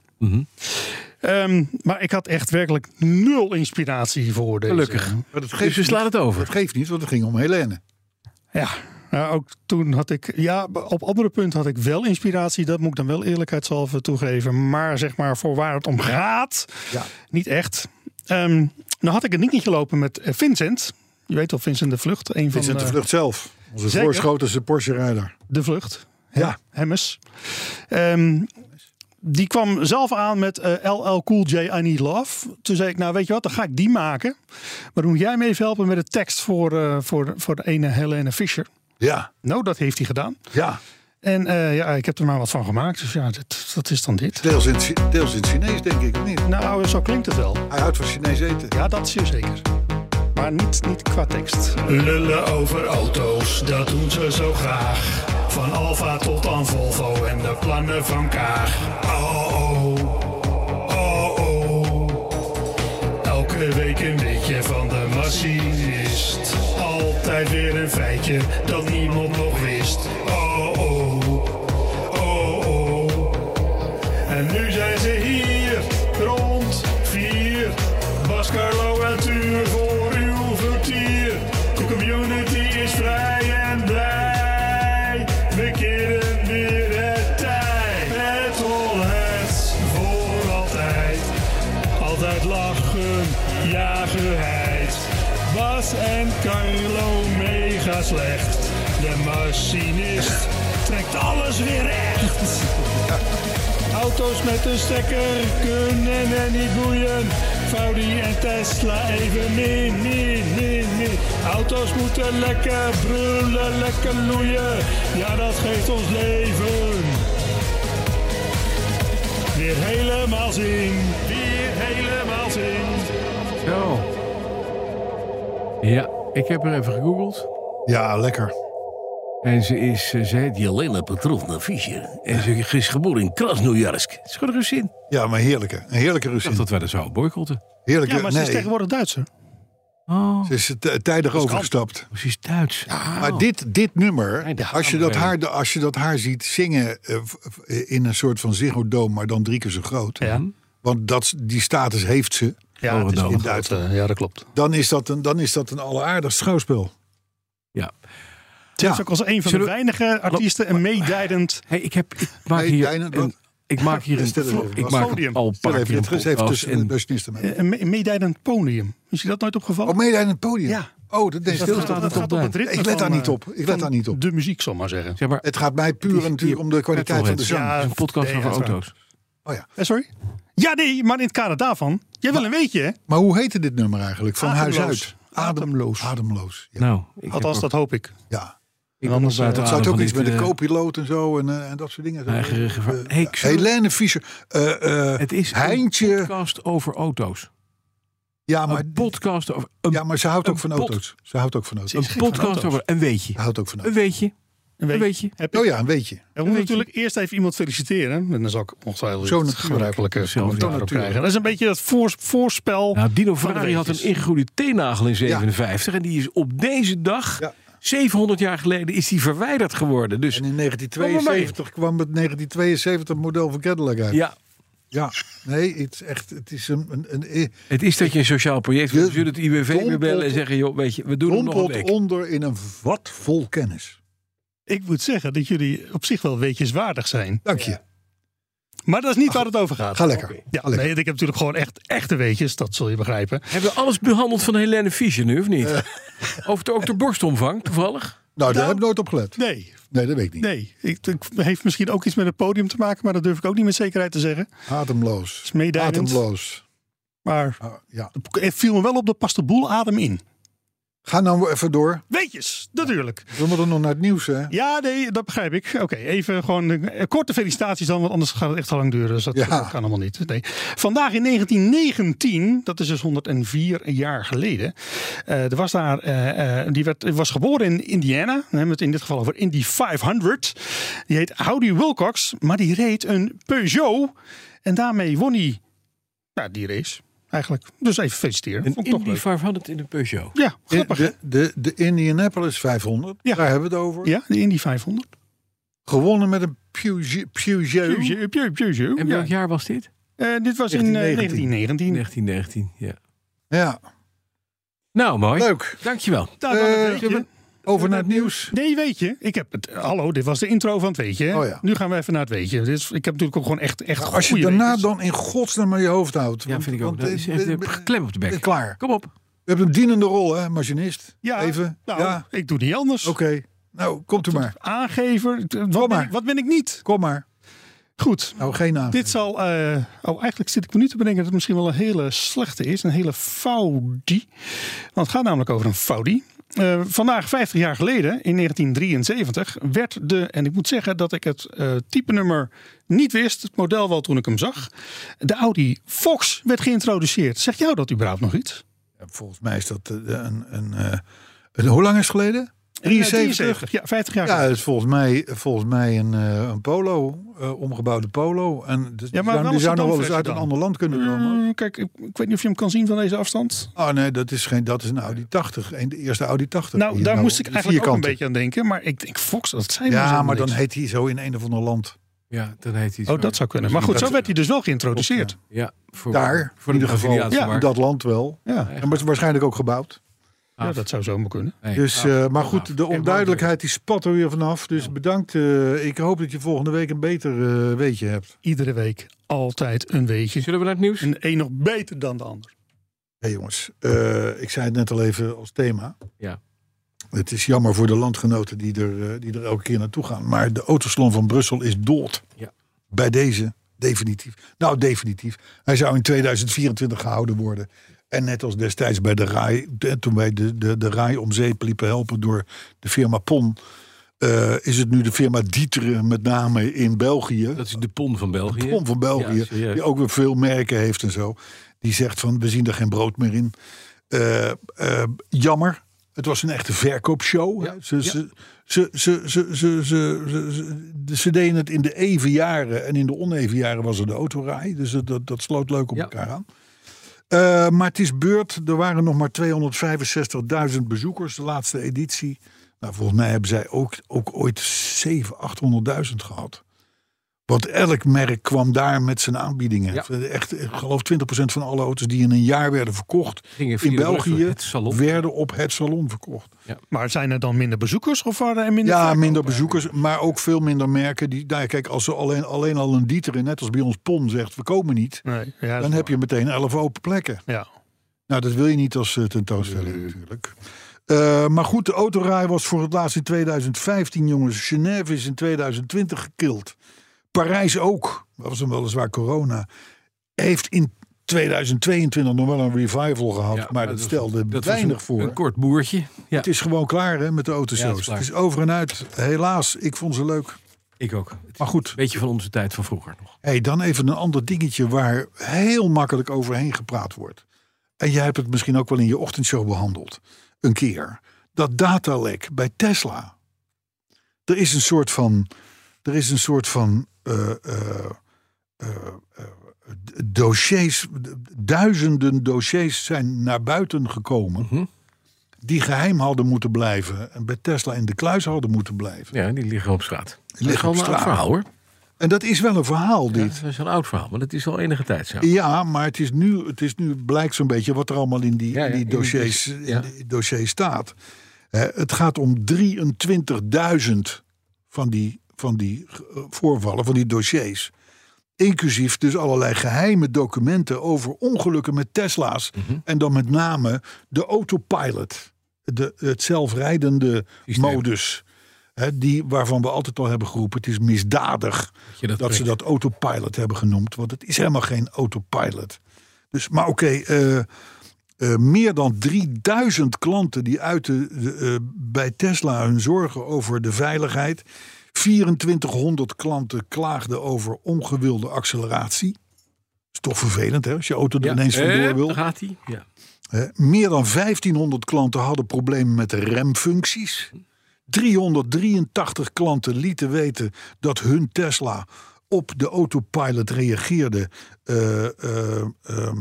Speaker 4: Ehm, maar ik had echt werkelijk nul inspiratie voor deze.
Speaker 2: Gelukkig.
Speaker 3: Maar dat
Speaker 2: Dus we
Speaker 3: niet.
Speaker 2: slaan het over.
Speaker 3: Dat geeft niet, want het ging om Helene.
Speaker 4: Ja, nou, ook toen had ik... Ja, op andere punten had ik wel inspiratie. Dat moet ik dan wel eerlijkheidshalve toegeven. Maar zeg maar voor waar het om gaat,
Speaker 3: Ja.
Speaker 4: niet echt. Ehm nou had ik een linkje gelopen met eh, Vincent. Je weet wel, Vincent de Vlucht. Een van
Speaker 3: Vincent de
Speaker 4: eh,
Speaker 3: Vlucht zelf. Onze
Speaker 4: Zeker.
Speaker 3: voorschotense Porsche-rijder.
Speaker 4: de Vlucht.
Speaker 3: Ja.
Speaker 4: Hemmes. Ehm, die kwam zelf aan met eh, LL Cool J I Need Love. Toen zei ik, nou weet je wat, dan ga ik die maken. Maar dan moet jij me even helpen met de tekst voor, eh, voor, voor de ene Helene Fischer.
Speaker 3: Ja,
Speaker 4: Nou, dat heeft hij gedaan.
Speaker 3: ja.
Speaker 4: En eh, ja, ik heb er maar wat van gemaakt. Dus ja, dit- dat is dan dit.
Speaker 3: Deels in, het Chi- deels in het Chinees, denk ik. of Niet?
Speaker 4: Nou, zo klinkt het wel.
Speaker 3: Hij houdt van Chinees eten.
Speaker 4: Ja, dat zeer zeker. Maar niet, niet qua tekst.
Speaker 5: Lullen over auto's, dat doen ze zo graag. Van Alfa tot aan Volvo en de plannen van Kaag. Oh, oh, oh, oh. Elke week een beetje van de machinist. Altijd weer een feitje dat niemand nog wist. Oh, oh, oh, oh. En nu zijn ze hier, rond vier. Bas, Carlo en Tuur voor uw vertier. De community is vrij en blij. We keren weer het tijd. Het rollet voor altijd. Altijd lachen, jagerheid. Bas en Carlo mega slecht. De machinist trekt alles weer recht. Auto's met een stekker kunnen en niet boeien. Audi en Tesla even min, min, min, min. Auto's moeten lekker brullen, lekker loeien. Ja, dat geeft ons leven weer helemaal zin. Weer helemaal zin.
Speaker 2: Zo. Ja, ik heb er even gegoogeld.
Speaker 3: Ja, lekker.
Speaker 6: En ze is, eh, ze heet Jelena Petrovna Fischer. En ze is geboren in Krasnojarsk. Schud er eens in.
Speaker 3: Ja, maar heerlijke. Een heerlijke Russin.
Speaker 2: dat wij dat zouden boycotten.
Speaker 3: Heerlijke,
Speaker 4: Ja, maar ze
Speaker 3: nee,
Speaker 4: is tegenwoordig Duitser.
Speaker 2: Oh,
Speaker 3: ze is t- tijdig overgestapt.
Speaker 2: ze is Duits.
Speaker 4: Oh.
Speaker 3: Maar dit, dit nummer,
Speaker 2: Tijdig
Speaker 3: als je, dat haar, als je dat haar ziet zingen eh, v- v- in een soort van Ziggo Dome, maar dan drie keer zo groot. Want dat, die status heeft ze
Speaker 4: Ja,
Speaker 2: Oh,
Speaker 4: het is
Speaker 2: nou.
Speaker 4: niet-
Speaker 3: in Duitsland.
Speaker 7: eh, ja, dat klopt.
Speaker 3: Dan is dat een, dan is dat een alleraardigst schouwspel.
Speaker 2: Ja.
Speaker 4: Ze is ook als een van de
Speaker 2: Zullen we-
Speaker 4: weinige artiesten een meeduidend...
Speaker 2: Hey, ik, heb, ik maak
Speaker 3: Hey,
Speaker 2: hier
Speaker 3: Dijn,
Speaker 2: een,
Speaker 3: wat?
Speaker 2: ik maak hier
Speaker 3: Stel
Speaker 2: een,
Speaker 3: even, wat?
Speaker 2: ik maak
Speaker 4: Podium.
Speaker 2: al een
Speaker 3: Stel
Speaker 2: paar
Speaker 3: even,
Speaker 2: keer
Speaker 3: dit
Speaker 2: een
Speaker 3: is even
Speaker 2: podcast
Speaker 3: tussen
Speaker 4: Oh,
Speaker 3: de
Speaker 2: en-
Speaker 3: machinisten mee.
Speaker 4: Een me- een meeduidend podium. Is je dat nooit opgevallen?
Speaker 3: Oh, mede aan het podium?
Speaker 4: Ja.
Speaker 3: Oh, dat deed
Speaker 4: dat
Speaker 3: stil.
Speaker 4: gaat, dat gaat op het ritme
Speaker 3: Ik let daar
Speaker 4: van,
Speaker 3: niet
Speaker 4: eh,
Speaker 3: op. Ik let
Speaker 4: van
Speaker 3: daar niet op.
Speaker 4: De muziek, zal ik maar zeggen.
Speaker 2: zeg maar,
Speaker 3: Het gaat mij puur
Speaker 2: die-
Speaker 3: natuurlijk om de kwaliteit van de
Speaker 2: Petrolheads.
Speaker 3: zang.
Speaker 4: Ja,
Speaker 2: het is een podcast
Speaker 4: nee,
Speaker 2: over
Speaker 4: dat is waar.
Speaker 2: auto's.
Speaker 3: Oh ja.
Speaker 4: Eh, sorry? Ja, nee, maar in het kader daarvan. Jij wil een weetje, hè?
Speaker 3: Maar hoe heette dit nummer eigenlijk? Van huis
Speaker 4: Ademloos.
Speaker 3: uit.
Speaker 4: Ademloos. Nou.
Speaker 3: Ademloos. Ja.
Speaker 2: Nou, ik heb
Speaker 4: Althans,
Speaker 2: ook-
Speaker 4: dat hoop ik.
Speaker 3: ja.
Speaker 2: ik ben
Speaker 4: anders,
Speaker 2: nog buiten
Speaker 3: Dat zou het
Speaker 2: adem
Speaker 3: ook
Speaker 2: van
Speaker 3: iets
Speaker 2: dit,
Speaker 3: met de
Speaker 2: eh,
Speaker 3: co-piloot en zo en, eh, en dat soort dingen.
Speaker 2: eigen gevaar.
Speaker 3: Eh,
Speaker 2: Hey, ik zou-
Speaker 3: Helene Fischer. eh, eh,
Speaker 2: Het is een
Speaker 3: Heintje.
Speaker 2: podcast over auto's.
Speaker 3: Ja maar,
Speaker 2: Een podcast over een,
Speaker 3: ja, maar ze houdt ook
Speaker 2: een
Speaker 3: van
Speaker 2: pod-
Speaker 3: auto's. Ze houdt ook van auto's.
Speaker 2: een podcast over een weetje.
Speaker 3: Ze houdt ook van
Speaker 2: Een
Speaker 3: auto's.
Speaker 2: weetje.
Speaker 4: Een
Speaker 2: Een
Speaker 4: weetje.
Speaker 2: weetje.
Speaker 4: Heb ik.
Speaker 3: Oh ja, een beetje.
Speaker 4: We moeten
Speaker 2: weetje.
Speaker 4: natuurlijk eerst even iemand feliciteren. En dan zal ik
Speaker 3: Zo
Speaker 4: ongetwijfeld Zo'n
Speaker 3: natuurlijk.
Speaker 4: gebruikelijke
Speaker 2: Zelf,
Speaker 4: commentaar
Speaker 2: ja,
Speaker 4: op
Speaker 2: natuurlijk.
Speaker 4: krijgen. Dat is een beetje dat voors- voorspel.
Speaker 2: Nou, Dino
Speaker 4: Van de
Speaker 2: Ferrari had een
Speaker 4: weetjes.
Speaker 2: ingegroeide teennagel in 57 en die is op deze dag
Speaker 3: Ja.
Speaker 2: 700 jaar geleden is die verwijderd geworden. Dus
Speaker 3: En in
Speaker 2: Kom maar
Speaker 3: 1972 kwam het 1972 model van Cadillac uit.
Speaker 2: ja,
Speaker 3: Ja. Nee, het is echt. Het is een, een, een
Speaker 2: het is dat je een sociaal project wil.
Speaker 3: Je
Speaker 2: Je zullen het IWV weer
Speaker 3: dompelt-
Speaker 2: bellen en zeggen, joh, weet je, we doen hem nog een
Speaker 3: dompelt
Speaker 2: week.
Speaker 3: onder in een vat vol kennis.
Speaker 4: Ik moet zeggen dat jullie op zich wel weetjeswaardig zijn.
Speaker 3: Dank je.
Speaker 4: Maar dat is niet waar het over gaat.
Speaker 3: Ga lekker.
Speaker 4: Ja,
Speaker 3: Ga lekker.
Speaker 4: nee, ik heb natuurlijk gewoon echt echte weetjes. Dat zul je begrijpen.
Speaker 2: Hebben we alles behandeld van Helene Fischer nu, of niet?
Speaker 3: Eh.
Speaker 2: Over het, ook de borstomvang, toevallig.
Speaker 3: Nou, daar
Speaker 4: Nou-
Speaker 3: heb ik nooit op gelet.
Speaker 4: Nee,
Speaker 3: Nee, dat weet ik niet.
Speaker 4: nee. Ik, ik- heeft misschien ook iets met het podium te maken. Maar dat durf ik ook niet met zekerheid te zeggen.
Speaker 3: Ademloos.
Speaker 4: is meeduidend.
Speaker 3: Ademloos.
Speaker 4: Maar
Speaker 3: Ah, ja.
Speaker 4: het viel me wel op. Dat past de boel adem in.
Speaker 3: Ga nou even door.
Speaker 4: Weetjes, natuurlijk.
Speaker 3: We moeten nog naar het nieuws, hè?
Speaker 4: Ja, nee, dat begrijp ik. Oké, even gewoon eh, korte felicitaties dan, want anders gaat het echt te lang duren. Dus dat
Speaker 3: Ja.
Speaker 4: dat kan allemaal niet. Nee. Vandaag in 1919, dat is dus 104 jaar geleden, eh, er was daar, eh, eh, die werd, was geboren in Indiana. We hebben het in dit geval over Indy 500. Die heet Howdy Wilcox, maar die reed een Peugeot. En daarmee won hij nou, die race, eigenlijk. Dus even feliciteren.
Speaker 2: Een
Speaker 4: Vond ik toch
Speaker 2: Indy
Speaker 4: leuk.
Speaker 2: 500 in een Peugeot.
Speaker 4: Ja,
Speaker 3: De,
Speaker 4: grappig. hè?
Speaker 3: de, de, de Indianapolis 500,
Speaker 4: Ja.
Speaker 3: daar hebben we het over.
Speaker 4: Ja, de Indy 500.
Speaker 3: Gewonnen met een Peugeot. Peugeot.
Speaker 4: Peugeot, Peugeot.
Speaker 2: En
Speaker 4: ja.
Speaker 2: welk jaar was dit?
Speaker 4: Eh, dit was in eh,
Speaker 3: 1919.
Speaker 4: 1919.
Speaker 2: 1919, ja.
Speaker 3: Ja,
Speaker 2: Nou, mooi.
Speaker 3: leuk.
Speaker 2: Dankjewel.
Speaker 4: Nou, dan
Speaker 3: Eh,
Speaker 4: weet je.
Speaker 3: zullen Over naar het nieuws.
Speaker 4: Nee, weet je. Ik heb het. Hallo, dit was de intro van het weetje. hè?
Speaker 3: Oh ja. Nou,
Speaker 4: Nu gaan we even naar het weetje. Dit is, ik heb natuurlijk ook gewoon echt, echt
Speaker 3: Als je
Speaker 4: goede
Speaker 3: daarna
Speaker 4: weetjes.
Speaker 3: dan in godsnaam maar je hoofd houdt.
Speaker 2: Ja, vind ik ook. Dat is echt, eh, klem op de bek.
Speaker 3: Klaar.
Speaker 2: Kom op.
Speaker 3: We hebben een dienende rol, hè, machinist.
Speaker 4: Ja,
Speaker 3: Even.
Speaker 4: nou,
Speaker 3: ja,
Speaker 4: ik doe niet anders.
Speaker 3: oké. Nou, komt u maar.
Speaker 4: Aangever. t- Wat ben,
Speaker 3: maar.
Speaker 4: ik, wat ben ik niet?
Speaker 3: Kom maar.
Speaker 4: Goed.
Speaker 3: Nou, geen aan.
Speaker 4: Dit zal. eh, oh, eigenlijk zit ik me nu te bedenken dat het misschien wel een hele slechte is. Een hele foudie. Want het gaat namelijk over een foudie. Eh, vandaag, 50 jaar geleden, in 1973, werd de. En ik moet zeggen dat ik het eh, type nummer niet wist. Het model wel toen ik hem zag. De Audi Fox werd geïntroduceerd. Zegt jou dat überhaupt nog iets? Eh,
Speaker 3: Volgens mij is dat eh, een... een, eh, een hoe lang is het geleden? 73.
Speaker 4: Ja, 50 jaar
Speaker 3: Ja,
Speaker 4: geleden.
Speaker 3: het is volgens mij, volgens mij een, eh, een polo, eh, omgebouwde polo. En dus,
Speaker 4: Ja,
Speaker 3: die
Speaker 4: maar
Speaker 3: zou,
Speaker 4: wel
Speaker 3: die
Speaker 4: een
Speaker 3: zou nog wel eens
Speaker 4: sedanversie
Speaker 3: uit een
Speaker 4: dan.
Speaker 3: ander land kunnen
Speaker 2: Mm.
Speaker 3: komen.
Speaker 4: Eh, Kijk, ik, ik weet niet of je hem kan zien van deze afstand.
Speaker 3: Oh nee, dat is, geen, dat is een Audi 80. Een, de eerste Audi 80.
Speaker 4: Nou,
Speaker 3: Hier,
Speaker 4: daar moest ik
Speaker 3: de
Speaker 4: eigenlijk ook een
Speaker 3: vierkante.
Speaker 4: beetje aan denken. Maar ik denk, Fox, dat zijn
Speaker 3: Ja, maar dan heet hij zo in een of ander land.
Speaker 2: Ja, dan heet hij
Speaker 4: Oh, dat zou kunnen. Maar goed, zo werd hij dus wel geïntroduceerd.
Speaker 2: Ja, voor,
Speaker 3: Daar,
Speaker 2: voor
Speaker 3: in
Speaker 2: de
Speaker 3: ieder geval.
Speaker 2: Braziliaanse
Speaker 4: Ja,
Speaker 3: In
Speaker 2: markt.
Speaker 3: dat land wel.
Speaker 4: Ja,
Speaker 3: En wa- waarschijnlijk ook gebouwd.
Speaker 4: ja, dat zou zomaar kunnen.
Speaker 2: Ah, Nee.
Speaker 3: Dus,
Speaker 2: Ah,
Speaker 3: eh, maar
Speaker 2: gaaf.
Speaker 3: goed, de
Speaker 2: Kijk,
Speaker 3: onduidelijkheid die spat er weer vanaf. Dus bedankt. eh, ik hoop dat je volgende week een beter eh, weetje hebt.
Speaker 4: Iedere week altijd een
Speaker 2: leuk.
Speaker 4: weetje.
Speaker 2: Zullen we naar het nieuws?
Speaker 4: En de een nog beter dan de ander.
Speaker 3: Hé jongens, eh, ik zei het net al even als thema.
Speaker 2: Ja.
Speaker 3: Het is jammer voor de landgenoten die er, eh, die er elke keer naartoe gaan. Maar de autosalon van Brussel is dood.
Speaker 2: Ja.
Speaker 3: Bij deze, definitief. Nou, definitief. Hij zou in 2024 gehouden worden. En net als destijds bij de RAI, de- toen wij de, de, de RAI om zeep liepen helpen door de firma PON. eh, is het nu de firma Dieteren met name in België.
Speaker 2: Dat is de pon van België.
Speaker 3: Pom van België,
Speaker 2: Ja, serieus.
Speaker 3: die ook weer veel merken heeft en zo. Die zegt van, we zien er geen brood meer in. Eh, eh, jammer. Het was een echte verkoopshow. hè. Ze, ze, ze, ze, ze, ze, ze, ze- ze- de- ze deden het in de even jaren en in de oneven jaren was er de autorij. Dus dat, dat, dat sloot leuk op
Speaker 2: Ja.
Speaker 3: elkaar aan. Eh, maar het is beurt. Er waren nog maar 265.000 bezoekers de laatste editie. Nou, volgens mij hebben zij ook, ook ooit 700.000, 800.000 gehad. Want elk merk kwam daar met zijn aanbiedingen. Echt, ik geloof 20% van alle auto's die in een jaar werden verkocht
Speaker 2: Gingen via
Speaker 3: in
Speaker 2: de brug
Speaker 3: België,
Speaker 2: door het salon.
Speaker 3: werden op het salon verkocht.
Speaker 4: Maar zijn er dan minder bezoekers of waren er minder
Speaker 3: Ja,
Speaker 4: verkoop?
Speaker 3: minder bezoekers, maar ook veel minder merken. Die, nou ja, kijk, als ze alleen, alleen al een Dieter, net als bij ons Pon, zegt we komen niet.
Speaker 4: Nee, ja, dat
Speaker 3: Dan
Speaker 4: is
Speaker 3: heb je meteen 11 open plekken.
Speaker 4: waar. Ja.
Speaker 3: Nou, dat wil je niet als eh, tentoonstelling natuurlijk. Eh, maar goed, de autorij was voor het laatst in 2015, jongens. Genève is in 2020 gekild. Parijs ook. Dat was dan weliswaar corona. Heeft in 2022 nog wel een revival gehad.
Speaker 2: Ja,
Speaker 3: maar dat,
Speaker 2: was-
Speaker 3: stelde
Speaker 2: dat was
Speaker 3: weinig
Speaker 2: een,
Speaker 3: voor.
Speaker 2: Een kort boertje. Ja,
Speaker 3: Het is gewoon klaar hè, met de
Speaker 2: Ja, het
Speaker 3: autoshows.
Speaker 2: is klaar.
Speaker 3: het is over en uit. Helaas, ik vond ze leuk.
Speaker 2: ik ook.
Speaker 3: Maar goed,
Speaker 2: Beetje van onze tijd van vroeger nog.
Speaker 3: hey, dan even een ander dingetje waar heel makkelijk overheen gepraat wordt. En jij hebt het misschien ook wel in je ochtendshow behandeld. Een keer. Dat datalek bij Tesla. Er is een soort van. Er is een soort van. eh, eh, eh, eh, d- dossiers. d- Duizenden dossiers zijn naar buiten gekomen. Die geheim hadden moeten blijven. En bij Tesla in de kluis hadden moeten blijven.
Speaker 2: Ja, die liggen op straat. Die
Speaker 3: liggen op
Speaker 2: een oud
Speaker 3: straat.
Speaker 2: verhaal hoor.
Speaker 3: En dat is wel een verhaal, dit.
Speaker 2: Dat is een oud verhaal, maar dat is al enige tijd zo.
Speaker 3: Ja, maar het is nu, het is nu blijkt zo'n beetje wat er allemaal in die,
Speaker 2: Ja, ja,
Speaker 3: in die
Speaker 2: in die
Speaker 3: dossiers,
Speaker 2: dus- ja.
Speaker 3: in die dossiers staat. Hè, het gaat om 23.000 van die, van die eh, voorvallen, van die dossiers. Inclusief dus allerlei geheime documenten over ongelukken met Tesla's.
Speaker 2: Mhm.
Speaker 3: En dan met name de autopilot. De, het zelfrijdende
Speaker 2: Systeem.
Speaker 3: modus. Hè, die, waarvan we altijd al hebben geroepen, het is misdadig
Speaker 2: je dat
Speaker 3: dat ze
Speaker 2: trekt.
Speaker 3: dat autopilot hebben genoemd. Want het is helemaal geen autopilot. Dus, maar oké, eh, eh, meer dan 3000 klanten die uiten eh, eh, bij Tesla hun zorgen over de veiligheid. 2400 klanten klaagden over ongewilde acceleratie. Is toch vervelend, hè? Als je auto er
Speaker 2: Ja.
Speaker 3: ineens
Speaker 2: Eh,
Speaker 3: vandoor wil.
Speaker 2: daar gaat hij. Ja.
Speaker 3: Hè, Eh, meer dan 1500 klanten hadden problemen met de remfuncties. 383 klanten lieten weten dat hun Tesla op de autopilot reageerde. eh, eh, ehm,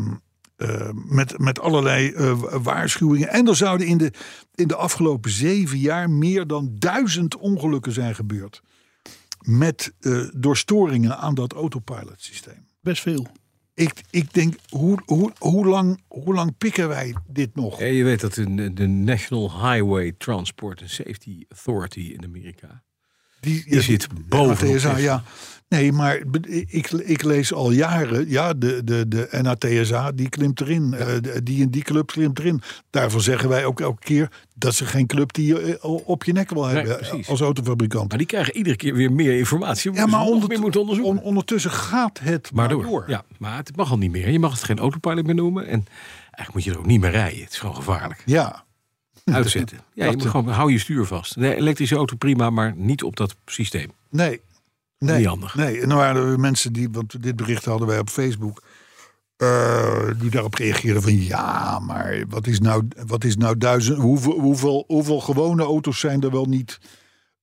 Speaker 3: eh, met, met allerlei eh, wa- waarschuwingen. En er zouden in de, in de afgelopen zeven jaar meer dan duizend ongelukken zijn gebeurd. Met, eh, door storingen aan dat autopilot systeem
Speaker 4: Best veel.
Speaker 3: ik, ik denk, hoe, hoe, hoe, lang, hoe lang pikken wij dit nog?
Speaker 2: Ja, je weet dat de, de National Highway Transport and Safety Authority in Amerika.
Speaker 3: Die,
Speaker 2: Die zit bovenop
Speaker 3: NATSA,
Speaker 2: Tesla.
Speaker 3: ja. Nee, maar be- ik, ik lees al jaren, ja, de, de, de NATSA, die klimt erin. Eh, de- die en die club klimt erin. Daarvoor zeggen wij ook elke keer, dat ze geen club die je eh, op je nek wil hebben eh,
Speaker 2: precies.
Speaker 3: als autofabrikant. Dus
Speaker 2: Maar die krijgen iedere keer weer meer informatie.
Speaker 3: ja, maar
Speaker 2: onder,
Speaker 3: ondert-
Speaker 2: meer moeten onderzoeken.
Speaker 3: on- ondertussen gaat het
Speaker 2: maar door. Ja, maar het mag al niet meer. Je mag het geen autopilot meer noemen. En eigenlijk moet je er ook niet meer rijden. Het is gewoon gevaarlijk.
Speaker 3: Ja,
Speaker 2: Uitzetten. Ja, je moet gewoon, hou je stuur vast. De elektrische auto prima, maar niet op dat systeem.
Speaker 3: nee. nee.
Speaker 2: Niet handig.
Speaker 3: Nee, en dan waren er mensen die, want dit bericht hadden wij op Facebook. eh, die daarop reageerden van ja, maar wat is nou, wat is nou duizend, hoeveel, hoeveel, hoeveel gewone auto's zijn er wel niet?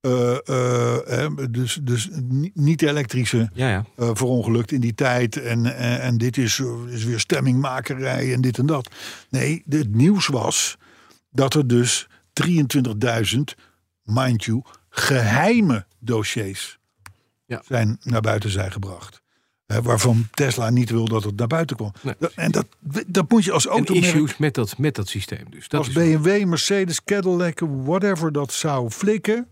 Speaker 3: eh, eh, hè, dus dus ni- niet elektrische
Speaker 2: Ja, ja.
Speaker 3: eh, verongelukt in die tijd. En, en, en dit is, eh, is weer stemmingmakerij en dit en dat. Nee, de- het nieuws was dat er dus 23.000, mind you, geheime dossiers
Speaker 2: Ja.
Speaker 3: zijn naar buiten zijn gebracht. Hè, waarvan Tesla niet wil dat het naar buiten kwam.
Speaker 2: Nee.
Speaker 3: Dat- En dat, dat moet je als
Speaker 2: En
Speaker 3: automerk
Speaker 2: issues met dat, met dat systeem dus. Dat
Speaker 3: als
Speaker 2: is-
Speaker 3: BMW, Mercedes, Cadillac, whatever dat zou flikken.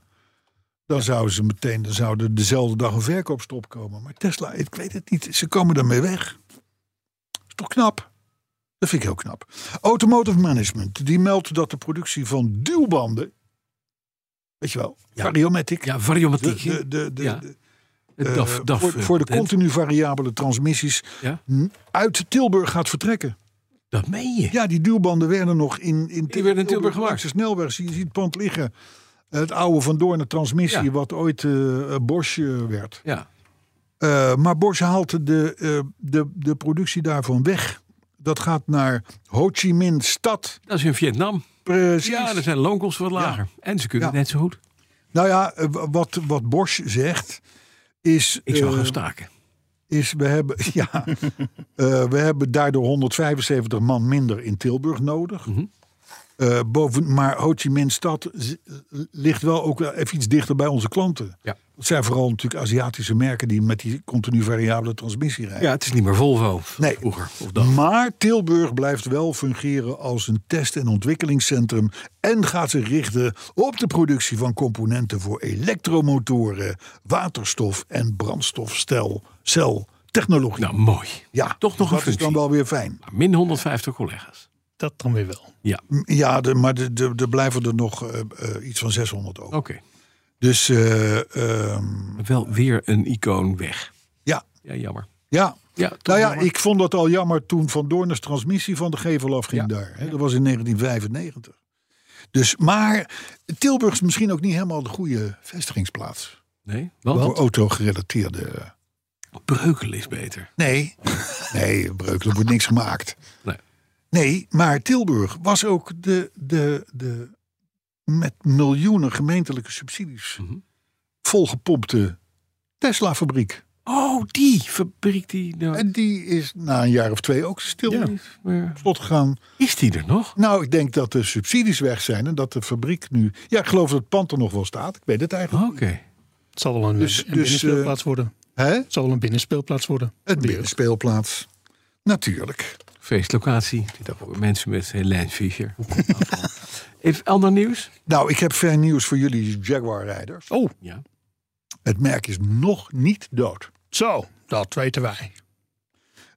Speaker 3: Dan zouden ze meteen dan zouden dezelfde dag een verkoopstop komen. Maar Tesla, ik weet het niet. Ze komen daarmee weg. Is toch knap? Dat vind ik heel knap. Automotive Management, die meldt dat de productie van duwbanden. Weet je wel,
Speaker 2: Ja.
Speaker 3: variomatic.
Speaker 2: ja,
Speaker 3: de,
Speaker 2: variomatiek.
Speaker 3: de, de, de,
Speaker 2: Ja,
Speaker 3: de-
Speaker 2: het
Speaker 3: eh,
Speaker 2: DAF, DAF,
Speaker 3: voor, voor de
Speaker 2: patent.
Speaker 3: continu variabele transmissies
Speaker 2: Ja.
Speaker 3: n- uit Tilburg gaat vertrekken.
Speaker 2: Dat meen je.
Speaker 3: Ja, die duwbanden werden nog in, in,
Speaker 2: werden in Tilburg gemaakt.
Speaker 3: langs de snelweg. Zie- Je ziet het pand liggen. Het oude Van Doorn, de transmissie,
Speaker 2: Ja.
Speaker 3: wat ooit eh, eh, Bosch eh, werd.
Speaker 2: Ja.
Speaker 3: Eh, maar Bosch haalt de, eh, de, de productie daarvan weg. Dat gaat naar Ho Chi Minh stad,
Speaker 2: Dat is in Vietnam.
Speaker 3: Precies.
Speaker 2: Ja, dan zijn de loonkosten wat lager. En ze kunnen
Speaker 3: Ja.
Speaker 2: het net zo goed.
Speaker 3: Nou ja, eh, wa- wat, wat Bosch zegt is...
Speaker 2: Ik zou
Speaker 3: eh,
Speaker 2: gaan staken.
Speaker 3: is we hebben, ja, eh, we hebben daardoor 175 man minder in Tilburg nodig.
Speaker 2: Mhm.
Speaker 3: Eh, boven, maar Ho Chi Minh stad z- ligt wel ook wel even iets dichter bij onze klanten.
Speaker 2: Ja.
Speaker 3: Dat zijn vooral natuurlijk Aziatische merken die met die continu variabele transmissie rijden.
Speaker 2: Ja, het is niet meer Volvo
Speaker 3: Nee.
Speaker 2: vroeger of dan.
Speaker 3: Maar Tilburg blijft wel fungeren als een test- en ontwikkelingscentrum en gaat zich richten op de productie van componenten voor elektromotoren, waterstof en brandstofcel. Cel, technologie.
Speaker 2: Nou, mooi.
Speaker 3: Ja,
Speaker 2: Toch nog
Speaker 3: dat
Speaker 2: een
Speaker 3: is
Speaker 2: functie.
Speaker 3: dan wel weer fijn.
Speaker 2: Maar Min 150 collega's.
Speaker 4: Dat dan weer wel.
Speaker 2: Ja,
Speaker 3: M- Ja, de, maar er de, de blijven er nog eh, eh, iets van 600 over.
Speaker 2: oké.
Speaker 3: Dus eh, ehm,
Speaker 2: Wel weer een icoon weg.
Speaker 3: ja,
Speaker 2: Ja, jammer.
Speaker 3: ja.
Speaker 2: Ja, toch
Speaker 3: nou ja,
Speaker 2: jammer.
Speaker 3: ik vond dat al jammer toen Van Doornes transmissie van de gevel afging
Speaker 2: Ja,
Speaker 3: daar. Hè. Dat was in 1995. Dus, maar Tilburg is misschien ook niet helemaal de goede vestigingsplaats.
Speaker 2: Nee, want
Speaker 3: Voor auto-gerelateerde...
Speaker 2: Breukelen is beter.
Speaker 3: Nee, nee, Breukelen wordt niks gemaakt.
Speaker 2: Nee.
Speaker 3: Nee, maar Tilburg was ook de, de, de met miljoenen gemeentelijke subsidies
Speaker 2: Mhm.
Speaker 3: volgepompte Tesla-fabriek.
Speaker 2: Oh, die fabriek die... Nou,
Speaker 3: En die is na een jaar of twee ook stil
Speaker 4: Ja.
Speaker 3: op
Speaker 2: maar-
Speaker 3: slot gegaan.
Speaker 2: Is die er nog?
Speaker 3: Nou, ik denk dat de subsidies weg zijn en dat de fabriek nu... Ja, ik geloof dat het pand er nog wel staat. Ik weet het
Speaker 2: Oké.
Speaker 3: eigenlijk.
Speaker 4: Het zal wel een,
Speaker 3: Dus-
Speaker 4: een
Speaker 3: dus,
Speaker 4: binnenspeelplaats worden.
Speaker 3: Hè?
Speaker 4: Het zal wel een binnenspeelplaats worden.
Speaker 3: Het binnenspeelplaats. Natuurlijk.
Speaker 2: Feestlocatie. Voor mensen met Helene Fischer. Hoe komt dat dan? Even ander nieuws.
Speaker 3: Nou, ik heb fijn nieuws voor jullie Jaguar-rijders.
Speaker 4: Oh,
Speaker 2: Ja.
Speaker 3: Het merk is nog niet dood.
Speaker 4: zo. Dat weten wij.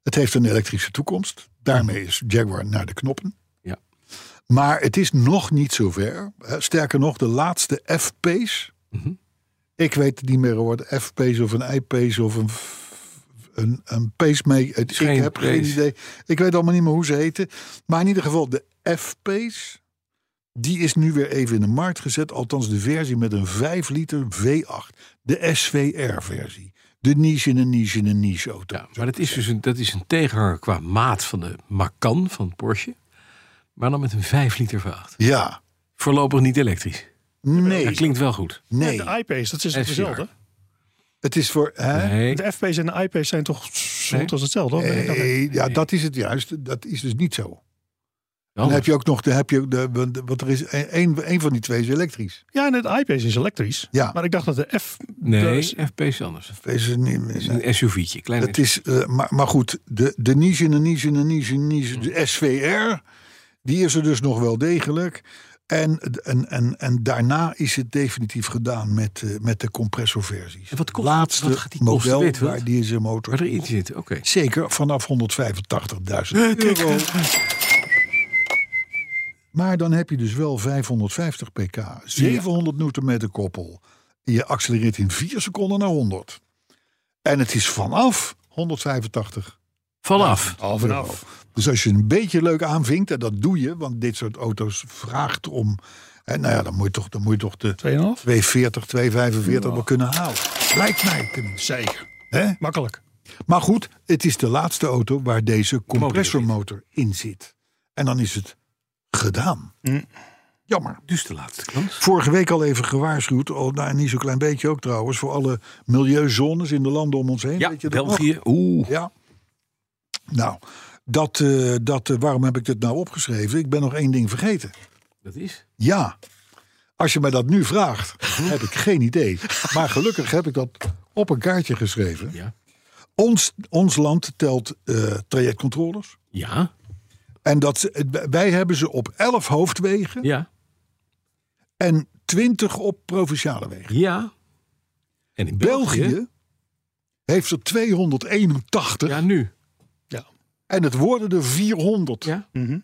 Speaker 3: Het heeft een elektrische toekomst. Daarmee is Jaguar naar de knoppen.
Speaker 2: Ja.
Speaker 3: Maar het is nog niet zover. Eh, Sterker nog, de laatste F-Pace.
Speaker 2: Mhm.
Speaker 3: Ik weet het niet meer hoor. de F-Pace of een I-Pace of een, f- een, een pacemaker. Het- Ik
Speaker 2: Geen
Speaker 3: heb geen
Speaker 2: pace.
Speaker 3: idee. Ik weet allemaal niet meer hoe ze heten. Maar in ieder geval, de F-Pace. Die is nu weer even in de markt gezet. Althans, de versie met een 5 liter V8. De SVR-versie. De niche in een niche in een niche auto.
Speaker 2: ja. Maar dat is dus een, dat is een tegenhanger qua maat van de Macan van Porsche. Maar dan met een 5 liter V8.
Speaker 3: Ja.
Speaker 2: Voorlopig niet elektrisch. Dat
Speaker 3: Nee,
Speaker 2: klinkt wel goed.
Speaker 3: nee.
Speaker 4: De iPace, dat is
Speaker 2: SVR.
Speaker 4: toch hetzelfde?
Speaker 3: Het is voor. Hè?
Speaker 2: Nee.
Speaker 4: De FP's en de iPa's zijn toch zo goed als hetzelfde? hoor?
Speaker 3: Eh,
Speaker 4: Nee,
Speaker 3: ja, dat is het juist. Dat is dus niet zo. Dan
Speaker 2: Anders.
Speaker 3: heb je ook nog. Dan heb je, ook de, want- want er is één één van die twee is elektrisch.
Speaker 4: Ja, en het iPace is elektrisch.
Speaker 3: Ja.
Speaker 4: Maar ik dacht dat de F...
Speaker 2: Nee,
Speaker 4: dus-
Speaker 2: FP is anders. Het
Speaker 3: Is er niet,
Speaker 2: is een SUV'tje. Klein
Speaker 3: het is, eh, maar, maar goed, de, de niche in de niche in de niche in de niche.
Speaker 2: Hm.
Speaker 3: De SVR, die is er dus nog wel degelijk. En, en, en, en daarna is het definitief gedaan met, eh, met de compressorversies.
Speaker 2: En wat kost-
Speaker 3: Laatste
Speaker 2: wat gaat die kosten,
Speaker 3: model
Speaker 2: weet je wat?
Speaker 3: waar deze
Speaker 2: waar
Speaker 3: motor...
Speaker 2: erin zit. Oké.
Speaker 3: Zeker vanaf 185.000 euro. Maar dan heb je dus wel 550 pk, 700 newtonmeter koppel. Je accelereert in 4 seconden naar 100. En het is vanaf 185.
Speaker 2: Vanaf.
Speaker 3: Al vanaf. Dus als je een beetje leuk aanvinkt, en dat doe je, want dit soort auto's vraagt om. En nou ja, dan moet je toch, dan moet je toch de
Speaker 4: 2,5?
Speaker 3: 240, 245 wel kunnen halen. Lijkt mij tenminste.
Speaker 4: Zeker.
Speaker 3: Hè?
Speaker 4: Makkelijk.
Speaker 3: Maar goed, het is de laatste auto waar deze compressormotor in zit. En dan is het gedaan. Jammer.
Speaker 2: Mm. Dus de laatste kans.
Speaker 3: Vorige week al even gewaarschuwd, al, nou, niet zo klein beetje ook trouwens, voor alle milieuzones in de landen om ons heen.
Speaker 2: Ja,
Speaker 3: Weet je dat nog?
Speaker 2: België. Oeh.
Speaker 3: Ja. Nou, dat, eh, dat, eh, waarom heb ik dit nou opgeschreven? Ik ben nog één ding vergeten.
Speaker 2: Dat is.
Speaker 3: Ja, als je mij dat nu vraagt, heb ik geen idee. Maar gelukkig heb ik dat op een kaartje geschreven.
Speaker 2: Ja.
Speaker 3: Ons, ons land telt eh, trajectcontroles.
Speaker 2: Ja.
Speaker 3: En dat, wij hebben ze op 11 hoofdwegen
Speaker 2: Ja.
Speaker 3: en 20 op provinciale wegen.
Speaker 2: Ja. En in België.
Speaker 3: België heeft er 281
Speaker 2: Ja, nu.
Speaker 3: en het worden er 400.
Speaker 2: Ja.
Speaker 4: Mhm.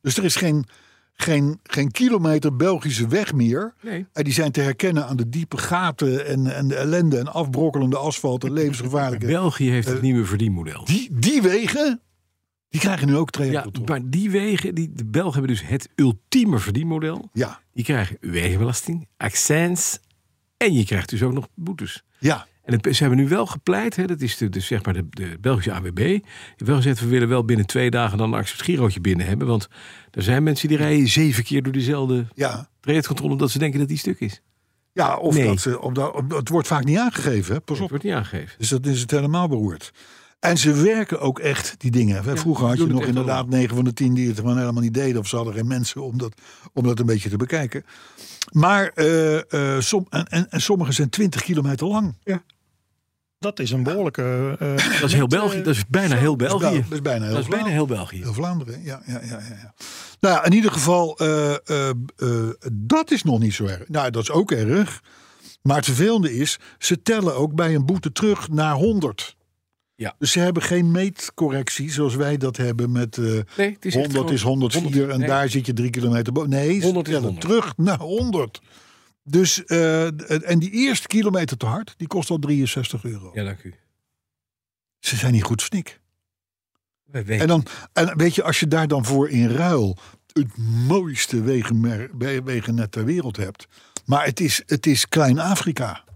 Speaker 3: Dus er is geen, geen, geen kilometer Belgische weg meer.
Speaker 2: Nee.
Speaker 3: En die zijn te herkennen aan de diepe gaten en, en de ellende en afbrokkelende asfalt en levensgevaarlijke.
Speaker 2: België heeft het nieuwe verdienmodel.
Speaker 3: Eh, Die, die wegen, die krijgen nu ook
Speaker 2: Ja,
Speaker 3: trajectcontrole.
Speaker 2: maar die wegen, die, de Belgen hebben dus het ultieme verdienmodel.
Speaker 3: Ja,
Speaker 2: Die krijgen wegenbelasting, accents en je krijgt dus ook nog boetes.
Speaker 3: ja,
Speaker 2: En En het, ze hebben nu wel gepleit, hè, dat is de, de, zeg maar de, de Belgische AWB. Die hebben wel gezegd, we willen wel binnen twee dagen dan een acceptgirootje binnen hebben. Want er zijn mensen die rijden zeven keer door diezelfde
Speaker 3: Ja,
Speaker 2: trajectcontrole... omdat ze denken dat die stuk is.
Speaker 3: ja of
Speaker 2: Nee.
Speaker 3: dat ze, omdat, om- het wordt vaak niet aangegeven, hè? pas
Speaker 2: Dat
Speaker 3: op.
Speaker 2: wordt niet aangegeven.
Speaker 3: Dus dat is het helemaal beroerd. En ze werken ook echt, die dingen. Vroeger had
Speaker 2: doen
Speaker 3: je
Speaker 2: het
Speaker 3: nog
Speaker 2: echt
Speaker 3: inderdaad
Speaker 2: allemaal.
Speaker 3: 9 van de 10 die het gewoon helemaal niet deden. Of ze hadden geen mensen om dat, om dat een beetje te bekijken. Maar eh, eh, som, en, en, en sommige zijn 20 kilometer lang.
Speaker 4: Dat is een behoorlijke... eh,
Speaker 2: Dat is heel België, dat is bijna heel
Speaker 3: Dat is
Speaker 2: België.
Speaker 3: bijna- Dat is bijna heel
Speaker 2: Dat is bijna
Speaker 3: Vlaanderen.
Speaker 2: heel België.
Speaker 3: Heel Vlaanderen, ja. ja, ja, ja, ja. Nou, ja, in ieder geval, eh, eh, eh, dat is nog niet zo erg. Nou, dat is ook erg. Maar het vervelende is, ze tellen ook bij een boete terug naar 100.
Speaker 2: Ja.
Speaker 3: Dus ze hebben geen meetcorrectie zoals wij dat hebben met eh,
Speaker 2: Nee, het is echt
Speaker 3: 100
Speaker 2: gewoon-
Speaker 3: is 104 en
Speaker 2: nee.
Speaker 3: daar zit je drie kilometer boven. Nee,
Speaker 2: 100
Speaker 3: 100
Speaker 2: is 100.
Speaker 3: terug naar 100. Dus, eh, en die eerste kilometer te hard, die kost al 63 euro.
Speaker 2: Ja, dank u.
Speaker 3: Ze zijn niet goed snik.
Speaker 2: Wij weten.
Speaker 3: En, dan, en weet je, als je daar dan voor in ruil het mooiste wegenmer- we- wegennet ter wereld hebt. Maar het is, het is Klein-Afrika.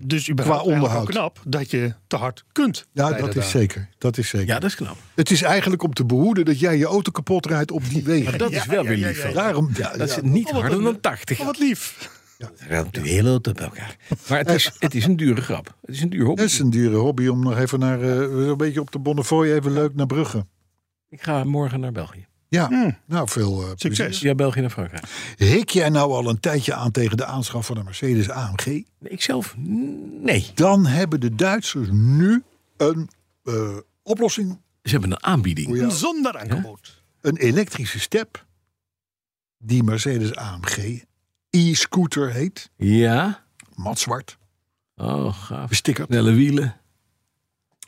Speaker 4: dus überhaupt
Speaker 3: Qua
Speaker 4: qua
Speaker 3: onderhoud.
Speaker 4: onderhoud. knap dat je te hard kunt.
Speaker 3: Ja,
Speaker 4: rijden
Speaker 3: dat is
Speaker 4: daar.
Speaker 3: zeker. Dat is zeker.
Speaker 2: Ja, dat is knap.
Speaker 3: Het is eigenlijk om te behoeden dat jij je auto kapot rijdt op die wegen.
Speaker 2: Maar dat is wel weer lief. van je.
Speaker 3: Daarom, ja,
Speaker 2: Dat is
Speaker 3: ja.
Speaker 2: niet
Speaker 4: Oh, wat
Speaker 2: harder
Speaker 4: een-
Speaker 2: dan 80.
Speaker 4: Oh, wat lief.
Speaker 6: Ruimt de hele auto bij elkaar.
Speaker 2: Maar het is, het is een dure grap. Het is een duur hobby.
Speaker 3: Dat is een dure hobby om nog even naar, eh, een beetje op de Bonnefoy, even leuk naar Brugge.
Speaker 2: Ik ga morgen naar België.
Speaker 3: Ja,
Speaker 4: Hmm.
Speaker 3: nou veel eh,
Speaker 4: Succes.
Speaker 2: Ja, België naar Frankrijk.
Speaker 3: plezier. Hik jij nou al een tijdje aan tegen de aanschaf van een Mercedes AMG?
Speaker 2: Nee, ik zelf? Nee.
Speaker 3: Dan hebben de Duitsers nu een eh, oplossing
Speaker 2: Ze hebben een aanbieding.
Speaker 3: voor jou.
Speaker 4: Zonder aanbod.
Speaker 3: een elektrische step. Die Mercedes AMG e-scooter heet.
Speaker 2: Ja.
Speaker 3: Matzwart.
Speaker 2: Oh, gaaf.
Speaker 3: Bestikkerd.
Speaker 2: Snelle wielen.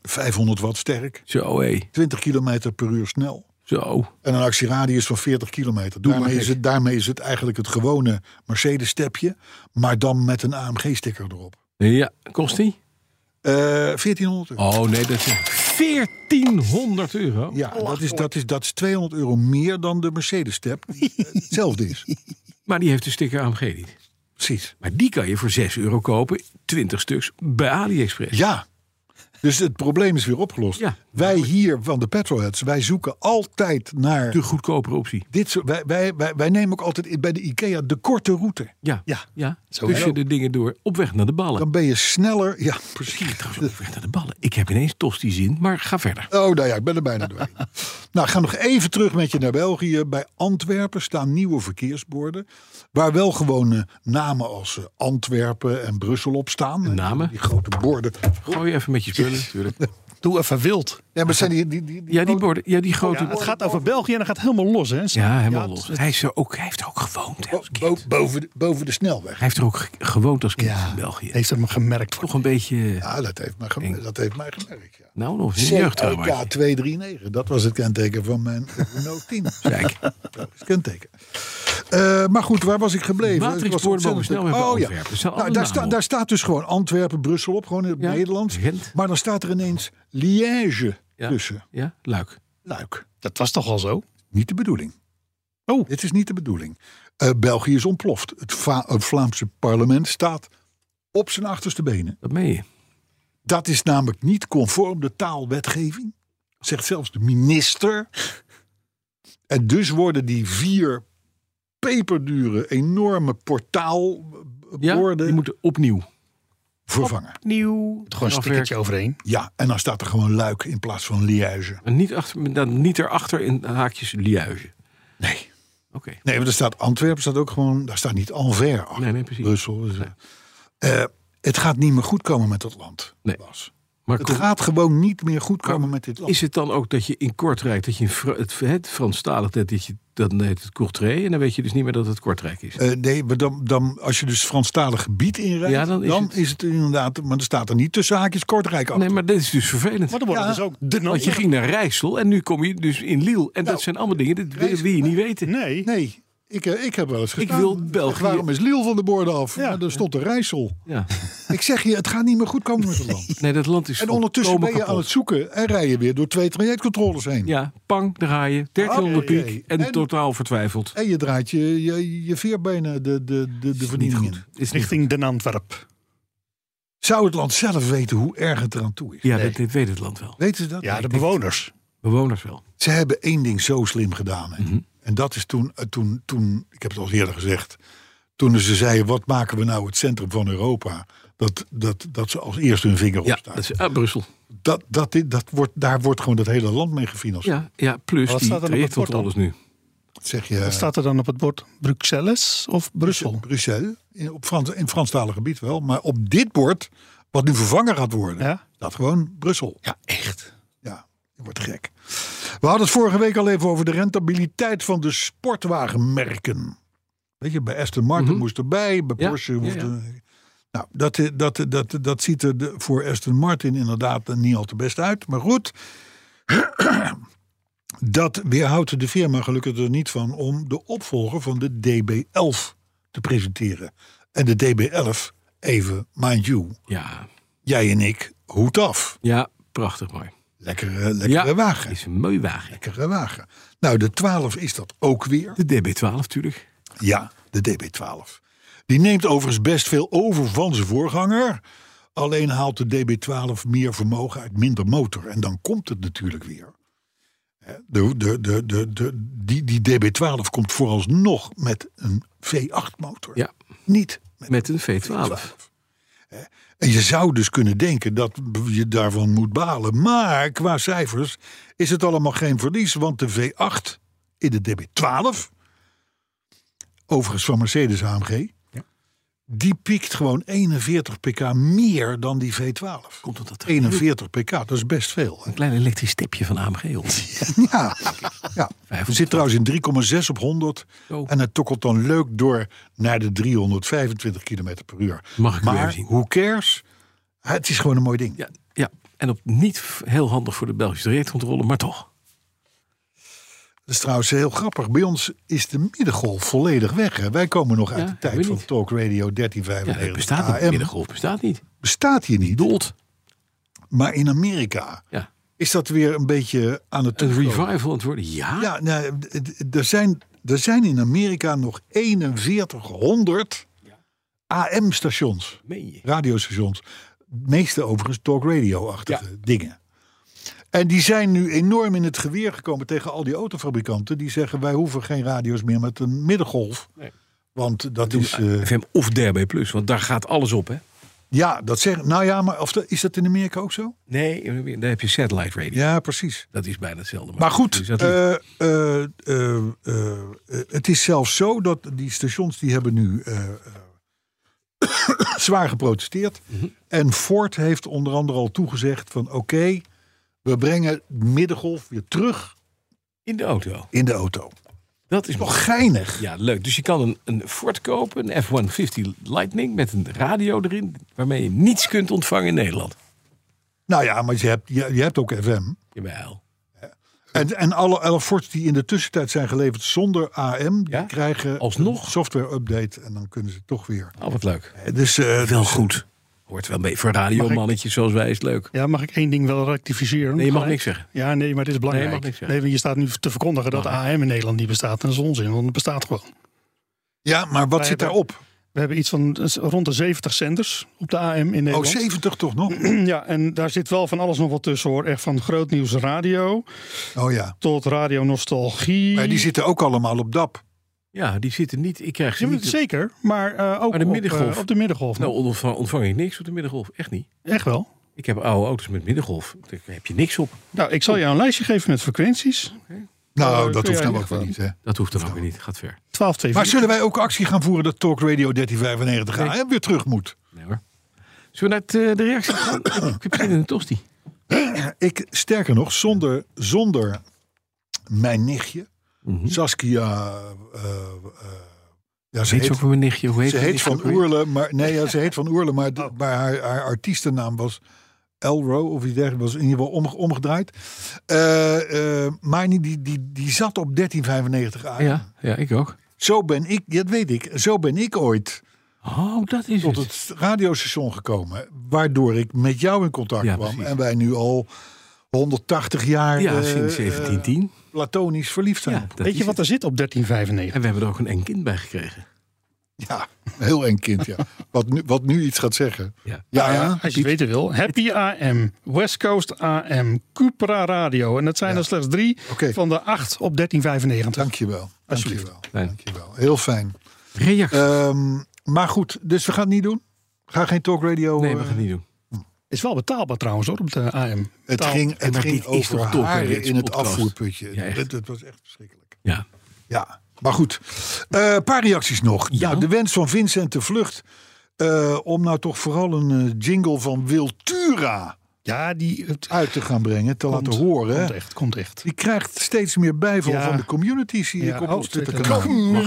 Speaker 3: 500 watt sterk.
Speaker 2: Zo, hé.
Speaker 3: 20 km per uur snel.
Speaker 2: Zo.
Speaker 3: En een actieradius van 40 kilometer.
Speaker 2: Doe
Speaker 3: Daarmee
Speaker 2: maar
Speaker 3: is,
Speaker 2: gek.
Speaker 3: het, daarmee is het eigenlijk het gewone Mercedes-stepje. Maar dan met een AMG-sticker erop.
Speaker 2: Ja, kost die?
Speaker 3: Eh 1400 euro.
Speaker 2: Oh, nee, dat is... 1400 euro?
Speaker 3: Ja, dat is, dat, is, dat is 200 euro meer dan de Mercedes-step. die, eh, Hetzelfde is.
Speaker 2: Maar die heeft dus een sticker AMG niet.
Speaker 3: Precies.
Speaker 2: Maar die kan je voor 6 euro kopen, 20 stuks, bij AliExpress.
Speaker 3: Ja. Dus het probleem is weer opgelost.
Speaker 2: Ja.
Speaker 3: Wij hier van de Petrolheads, wij zoeken altijd naar
Speaker 2: De goedkopere optie.
Speaker 3: dit soort, wij, wij, wij, wij nemen ook altijd bij de IKEA de korte route.
Speaker 2: Ja,
Speaker 4: Ja.
Speaker 2: ja. tussen de dingen door, op weg naar de ballen.
Speaker 3: Dan ben je sneller. Ja, precies.
Speaker 2: Kijk trouwens, op weg naar de ballen. Ik heb ineens tosti zin, maar ga verder.
Speaker 3: Oh, nou ja, ik ben er bijna doorheen. nou, ik ga nog even terug met je naar België. Bij Antwerpen staan nieuwe verkeersborden. Waar wel gewone namen als eh, Antwerpen en Brussel op staan. En
Speaker 2: namen?
Speaker 3: Die grote borden.
Speaker 2: Gooi even met je spullen. natuurlijk.
Speaker 4: Doe even wild.
Speaker 3: Ja, maar zijn die, die, die, die
Speaker 2: Ja, die
Speaker 3: grote-
Speaker 2: borden, ja, die grote...
Speaker 4: Het gaat over België en dat gaat helemaal los, hè?
Speaker 2: Ja, helemaal los. Hij, is er ook, hij heeft er ook gewoond. hè, als
Speaker 3: bo-
Speaker 2: kind.
Speaker 3: bo- boven, de, boven de snelweg.
Speaker 2: Hij heeft er ook ge- gewoond als kind
Speaker 4: Ja.
Speaker 2: in België.
Speaker 4: Heeft het me gemerkt.
Speaker 2: Toch een beetje...
Speaker 3: Ja, dat heeft mij, gem- dat heeft mij gemerkt. Ja.
Speaker 2: Nou, nog een jeugdtrauma.
Speaker 3: CK239, dat was het kenteken van mijn Renault 10.
Speaker 2: Kijk,
Speaker 3: Dat is het kenteken. Eh, maar goed, waar was ik gebleven?
Speaker 2: Matrix
Speaker 3: Ik was
Speaker 2: Boorden
Speaker 3: ontzettend-
Speaker 2: boven snelweg bij
Speaker 3: Oh ja,
Speaker 2: Antwerpen. Er staan
Speaker 3: nou,
Speaker 2: alle
Speaker 3: daar,
Speaker 2: namen
Speaker 3: sta-
Speaker 2: op.
Speaker 3: daar staat dus gewoon Antwerpen, Brussel op, gewoon in het
Speaker 2: Ja,
Speaker 3: Nederlands.
Speaker 2: Gent.
Speaker 3: Maar dan staat er ineens Liège
Speaker 2: Ja.
Speaker 3: tussen.
Speaker 2: ja, luik.
Speaker 3: Luik.
Speaker 4: Dat was toch al zo?
Speaker 3: Niet de bedoeling.
Speaker 4: Oh.
Speaker 3: Dit is niet de bedoeling. Eh, België is ontploft. Het, Va- het Vlaamse parlement staat op zijn achterste benen.
Speaker 2: Dat meen je.
Speaker 3: Dat is namelijk niet conform de taalwetgeving, zegt zelfs de minister. En dus worden die vier peperdure, enorme
Speaker 2: Ja,
Speaker 3: portaalborden
Speaker 2: die moeten opnieuw.
Speaker 3: vervangen.
Speaker 2: Nieuw.
Speaker 4: Gewoon een stickertje overheen.
Speaker 3: Ja, en dan staat er gewoon luik in plaats van liège.
Speaker 2: En niet, achter, dan niet erachter in haakjes liuizen.
Speaker 3: Nee.
Speaker 2: Oké.
Speaker 3: Nee, want er staat Antwerpen, staat ook gewoon, daar staat niet Anvers achter.
Speaker 2: Nee, nee, precies.
Speaker 3: Brussel. dus, eh, eh, het gaat niet meer goed komen met dat land.
Speaker 2: Nee.
Speaker 3: Bas.
Speaker 2: Maar
Speaker 3: Het
Speaker 2: kom-
Speaker 3: gaat gewoon niet meer goed komen met dit land.
Speaker 2: is het dan ook dat je in Kortrijk, dat je in Fra- het, het Franstalig, dat dat je, dan heet het Courtrai en dan weet je dus niet meer dat het Kortrijk is.
Speaker 3: Eh, nee, maar dan, dan, als je dus Franstalig gebied inrijdt,
Speaker 2: Ja,
Speaker 3: dan,
Speaker 2: dan
Speaker 3: is,
Speaker 2: is
Speaker 3: het...
Speaker 2: het-
Speaker 3: inderdaad, maar er staat er niet tussen haakjes Kortrijk af.
Speaker 2: Nee, maar dit is dus vervelend.
Speaker 4: Maar dan wordt het dus ook de
Speaker 2: Want je
Speaker 4: nacht.
Speaker 2: ging naar Rijssel en nu kom je dus in Liel. En
Speaker 3: Nou,
Speaker 2: dat zijn allemaal dingen, dat wil, wil je niet weten.
Speaker 4: Nee.
Speaker 3: Nee, ik, eh, ik heb wel eens gestaan.
Speaker 2: wil België-
Speaker 3: Waarom is Liel van de borden af?
Speaker 4: Ja.
Speaker 3: Ja. daar stond de Rijssel.
Speaker 2: Ja.
Speaker 3: Ik zeg je, het gaat niet meer goed komen met het land.
Speaker 2: Nee, dat land is
Speaker 3: En ondertussen ben
Speaker 2: volkomen
Speaker 3: je aan
Speaker 2: kapot.
Speaker 3: het zoeken en rij je weer door twee trajectcontroles heen.
Speaker 2: Ja, pang, daar ga je. 1300
Speaker 3: Oké.
Speaker 2: piek en,
Speaker 3: En-
Speaker 2: totaal vertwijfeld.
Speaker 3: En je draait je, je, je veerbenen de, de, de, de
Speaker 2: Niet
Speaker 3: verdiening in.
Speaker 2: goed. Is niet
Speaker 4: Richting Den Antwerp.
Speaker 3: Zou het land zelf weten hoe erg het eraan toe is?
Speaker 2: Ja, dat, dat weet het land wel.
Speaker 3: Weten ze dat?
Speaker 4: Ja,
Speaker 3: Nee.
Speaker 4: de bewoners.
Speaker 2: Bewoners wel.
Speaker 3: Ze hebben één ding zo slim gedaan. hè.
Speaker 2: Mhm.
Speaker 3: En dat is toen, eh, toen, toen, ik heb het al eerder gezegd. Toen ze zeiden, wat maken we nou het centrum van Europa? Dat, dat, dat ze als eerste hun vinger
Speaker 2: Ja, dat
Speaker 3: opstaan.
Speaker 2: is uit Brussel.
Speaker 3: Dat, dat, dit- dat wordt, daar wordt gewoon dat hele land mee gefinancierd.
Speaker 2: Ja, ja plus
Speaker 4: Wat staat er
Speaker 2: die
Speaker 4: op het
Speaker 2: trajectcontroles nu.
Speaker 3: Dat Zeg je,
Speaker 4: Wat staat er dan op het bord? Bruxelles of Brussel?
Speaker 3: Brussel, in, op Frans, in Franstalig gebied wel. Maar op dit bord, wat nu vervangen gaat worden,
Speaker 4: Ja.
Speaker 3: staat gewoon Brussel.
Speaker 4: Ja, echt.
Speaker 3: Ja, je wordt gek. We hadden het vorige week al even over de rentabiliteit van de sportwagenmerken. Weet je, bij Aston Martin moest erbij, bij
Speaker 2: Mhm. Ja,
Speaker 3: Porsche
Speaker 2: ja,
Speaker 3: moest
Speaker 2: ja.
Speaker 3: er- Nou, dat, eh, dat, eh, dat, eh, dat ziet er de- voor Aston Martin inderdaad eh, niet al te best uit. Maar goed, dat weerhoudt de firma gelukkig er niet van om de opvolger van de DB11 te presenteren. En de DB11, even, mind you,
Speaker 2: Ja,
Speaker 3: jij en ik, hoed af.
Speaker 2: ja prachtig mooi.
Speaker 3: Lekkere, lekkere
Speaker 2: ja,
Speaker 3: wagen
Speaker 2: is een mooi wagen.
Speaker 3: lekkere wagen. Nou, de 12 is dat ook weer.
Speaker 2: De DB12 natuurlijk.
Speaker 3: Ja, de DB12. Die neemt overigens best veel over van zijn voorganger. Alleen haalt de DB12 meer vermogen uit minder motor. En dan komt het natuurlijk weer. Hè, De, de, de, de, de, die, die DB12 komt vooralsnog met een V8 motor.
Speaker 2: Ja,
Speaker 3: Niet met
Speaker 2: met een
Speaker 3: een
Speaker 2: V12.
Speaker 3: V12. Hè, En je zou dus kunnen denken dat je daarvan moet balen. Maar qua cijfers is het allemaal geen verlies. Want de V8 in de DB12, overigens van Mercedes AMG... die piekt gewoon 41 pk meer dan die V12.
Speaker 2: Komt omdat er
Speaker 3: 41 pk, dat is best veel. hè?
Speaker 2: een klein elektrisch tipje van AMG op.
Speaker 3: Ja, ja. we zitten trouwens in 3,6 op 100.
Speaker 2: Zo.
Speaker 3: En het tokkelt dan leuk door naar de 325 km per uur.
Speaker 2: Mag ik u
Speaker 3: maar
Speaker 2: even zien?
Speaker 3: hoe cares? Het is gewoon een mooi ding.
Speaker 2: Ja, ja, en op niet f- heel handig voor de Belgische trajectcontrole, maar toch.
Speaker 3: Dat is trouwens heel grappig. Bij ons is de middengolf volledig weg. Hè? Wij komen nog uit
Speaker 2: Ja,
Speaker 3: de
Speaker 2: hebben
Speaker 3: tijd
Speaker 2: we
Speaker 3: van
Speaker 2: niet.
Speaker 3: Talk Radio
Speaker 2: Ja, het
Speaker 3: 1395
Speaker 2: bestaat niet.
Speaker 3: AM.
Speaker 2: Middengolf bestaat niet.
Speaker 3: Bestaat hier niet.
Speaker 2: Dood.
Speaker 3: Maar in Amerika
Speaker 2: Ja.
Speaker 3: is dat weer een beetje aan het
Speaker 2: Een
Speaker 3: terugkomen.
Speaker 2: revival aan het worden. Ja,
Speaker 3: Ja, nou, d- d- er, zijn, er zijn in Amerika nog 4100 AM-stations.
Speaker 2: meen je.
Speaker 3: radiostations. Meeste overigens talk radio-achtige dingen. En die zijn nu enorm in het geweer gekomen tegen al die autofabrikanten. Die zeggen wij hoeven geen radio's meer met een middengolf. Want dat is. eh,
Speaker 2: FM of DB+, Plus, want daar gaat alles op, hè?
Speaker 3: ja, dat zeggen. Nou ja, maar of dat, is dat in Amerika ook zo?
Speaker 2: Nee, daar heb je satellite radio.
Speaker 3: Ja, precies.
Speaker 2: Dat is bijna hetzelfde.
Speaker 3: Maar
Speaker 2: dus
Speaker 3: goed,
Speaker 2: dat-
Speaker 3: eh, eh, eh, eh, eh, het is zelfs zo dat die stations die hebben nu eh, eh, zwaar geprotesteerd. En Ford heeft onder andere al toegezegd van oké, we brengen middengolf weer terug
Speaker 2: in de auto.
Speaker 3: in de auto.
Speaker 2: Dat is nog
Speaker 3: Toch geinig.
Speaker 2: Ja, leuk. Dus je kan een, een Ford kopen, een F-150 Lightning met een radio erin, waarmee je niets kunt ontvangen in Nederland.
Speaker 3: Nou ja, maar je hebt, je, je hebt ook FM.
Speaker 2: Jawel.
Speaker 3: En, en alle, alle Fords die in de tussentijd zijn geleverd zonder AM, die
Speaker 2: Ja,
Speaker 3: krijgen
Speaker 2: alsnog.
Speaker 3: een software-update en dan kunnen ze toch weer.
Speaker 2: Oh, wat leuk.
Speaker 3: Eh, Dus, eh,
Speaker 2: Wel goed. Hoort wel mee. Voor radiomannetjes zoals wij is leuk.
Speaker 4: Ja, mag ik één ding wel rectificeren?
Speaker 2: Nee, je mag
Speaker 4: Gelijk?
Speaker 2: niks zeggen.
Speaker 4: Ja, nee, maar dit is belangrijk.
Speaker 2: Nee, je mag
Speaker 4: Nee,
Speaker 2: niks zeggen.
Speaker 4: want je staat nu te verkondigen dat AM in Nederland niet bestaat. En dat is onzin, want het bestaat gewoon.
Speaker 3: ja, maar wat zit
Speaker 4: Wij hebben-
Speaker 3: daarop?
Speaker 4: We hebben iets van eh, rond de 70 zenders op de AM in
Speaker 3: Oh,
Speaker 4: Nederland.
Speaker 3: 70 toch nog?
Speaker 4: Ja, en daar zit wel van alles nog wat tussen hoor. Echt van groot nieuws radio
Speaker 3: Oh ja.
Speaker 4: tot radio nostalgie.
Speaker 3: Maar die zitten ook allemaal op DAP.
Speaker 2: Ja, die zitten niet. Ik krijg ze
Speaker 4: Ja, maar
Speaker 2: niet.
Speaker 4: zeker, maar eh, ook
Speaker 2: Maar de
Speaker 4: op,
Speaker 2: middengolf.
Speaker 4: eh, op de middengolf.
Speaker 2: Nou, ontvang, ontvang ik niks op de middengolf. Echt niet.
Speaker 4: Echt wel.
Speaker 2: Ik heb oude auto's met middengolf. Daar heb je niks op.
Speaker 4: Nou, ik zal
Speaker 2: Oh.
Speaker 4: jou een lijstje geven met frequenties.
Speaker 3: Nou,
Speaker 4: Eh,
Speaker 3: dat
Speaker 4: kun
Speaker 3: hoeft
Speaker 4: jij
Speaker 3: nou
Speaker 4: in
Speaker 3: ook weer niet. Hè.
Speaker 2: Dat hoeft dan ook weer niet. Gaat ver.
Speaker 4: 12, 2,
Speaker 3: Maar zullen wij ook actie gaan voeren dat Talk Radio 1395
Speaker 2: Nee.
Speaker 3: AM weer terug moet?
Speaker 2: Nee hoor. Zullen we naar het, eh, de reactie gaan? Ik- ik heb zin in een tosti.
Speaker 3: Ik, sterker nog, zonder, zonder mijn nichtje, Mhm. Saskia... eh, eh, ja, ze
Speaker 2: Weet je
Speaker 3: heet,
Speaker 2: ook van mijn nichtje? Hoe heet
Speaker 3: ze heet
Speaker 2: Die is
Speaker 3: Van
Speaker 2: ook weer-
Speaker 3: Oerle, maar, nee, ja, ze heet Van Oerle, maar, de- maar haar, haar artiestennaam was Elro of iets dergelijks, was in ieder geval omge- omgedraaid. Eh, eh, maar die, die, die, die zat op 1395 AM.
Speaker 2: Ja, ja, ik ook.
Speaker 3: Zo ben ik, ja, dat weet ik, zo ben ik ooit
Speaker 2: Oh, dat is
Speaker 3: tot
Speaker 2: het.
Speaker 3: het radiostation gekomen. Waardoor ik met jou in contact
Speaker 2: Ja,
Speaker 3: kwam.
Speaker 2: precies.
Speaker 3: En wij nu al 180 jaar
Speaker 2: Ja,
Speaker 3: eh,
Speaker 2: sinds
Speaker 3: eh,
Speaker 2: 1710.
Speaker 3: platonisch verliefd zijn.
Speaker 2: Ja,
Speaker 3: op elkaar.
Speaker 2: dat
Speaker 4: Weet je
Speaker 2: is
Speaker 4: wat
Speaker 2: het.
Speaker 4: er zit op 1395?
Speaker 2: En we hebben er ook een eng kind bij gekregen.
Speaker 3: Ja, een heel eng kind, ja. Wat nu, wat nu iets gaat zeggen.
Speaker 2: Nou Ja.
Speaker 3: Ja,
Speaker 4: Ja, als je het weten wil. Happy AM, West Coast AM, Cupra Radio. En dat zijn er slechts drie
Speaker 3: Oké.
Speaker 4: van de acht op 1395.
Speaker 3: dankjewel. Dankjewel.
Speaker 2: Nee.
Speaker 3: Dankjewel. Heel fijn.
Speaker 2: Reactie.
Speaker 3: Ehm, maar goed, dus we gaan het niet doen. Ga geen talkradio.
Speaker 2: nee,
Speaker 3: eh,
Speaker 2: we gaan het niet doen.
Speaker 4: Is wel betaalbaar trouwens hoor, op de AM.
Speaker 3: het
Speaker 4: Betaal-
Speaker 3: ging, het
Speaker 2: maar
Speaker 3: ging
Speaker 2: dit is
Speaker 3: over
Speaker 2: toch toch
Speaker 3: haren
Speaker 2: weer iets
Speaker 3: in het
Speaker 2: podcast.
Speaker 3: afvoerputje.
Speaker 2: Ja, echt.
Speaker 3: het, het was echt verschrikkelijk.
Speaker 2: Ja.
Speaker 3: Ja, maar goed. Eh, Een paar reacties nog.
Speaker 2: Ja.
Speaker 3: Nou, de wens van Vincent de Vlucht. eh, om nou toch vooral een eh, jingle van Wiltura
Speaker 4: Ja, die het
Speaker 3: uit te gaan brengen. Te
Speaker 4: komt-
Speaker 3: laten horen. hè.
Speaker 4: Komt echt, komt echt.
Speaker 3: Die krijgt steeds meer bijval
Speaker 4: Ja.
Speaker 3: van de community, zie
Speaker 4: Ja,
Speaker 3: ik op
Speaker 4: oh,
Speaker 3: ons
Speaker 4: Twitter.
Speaker 3: Twitterkanaal.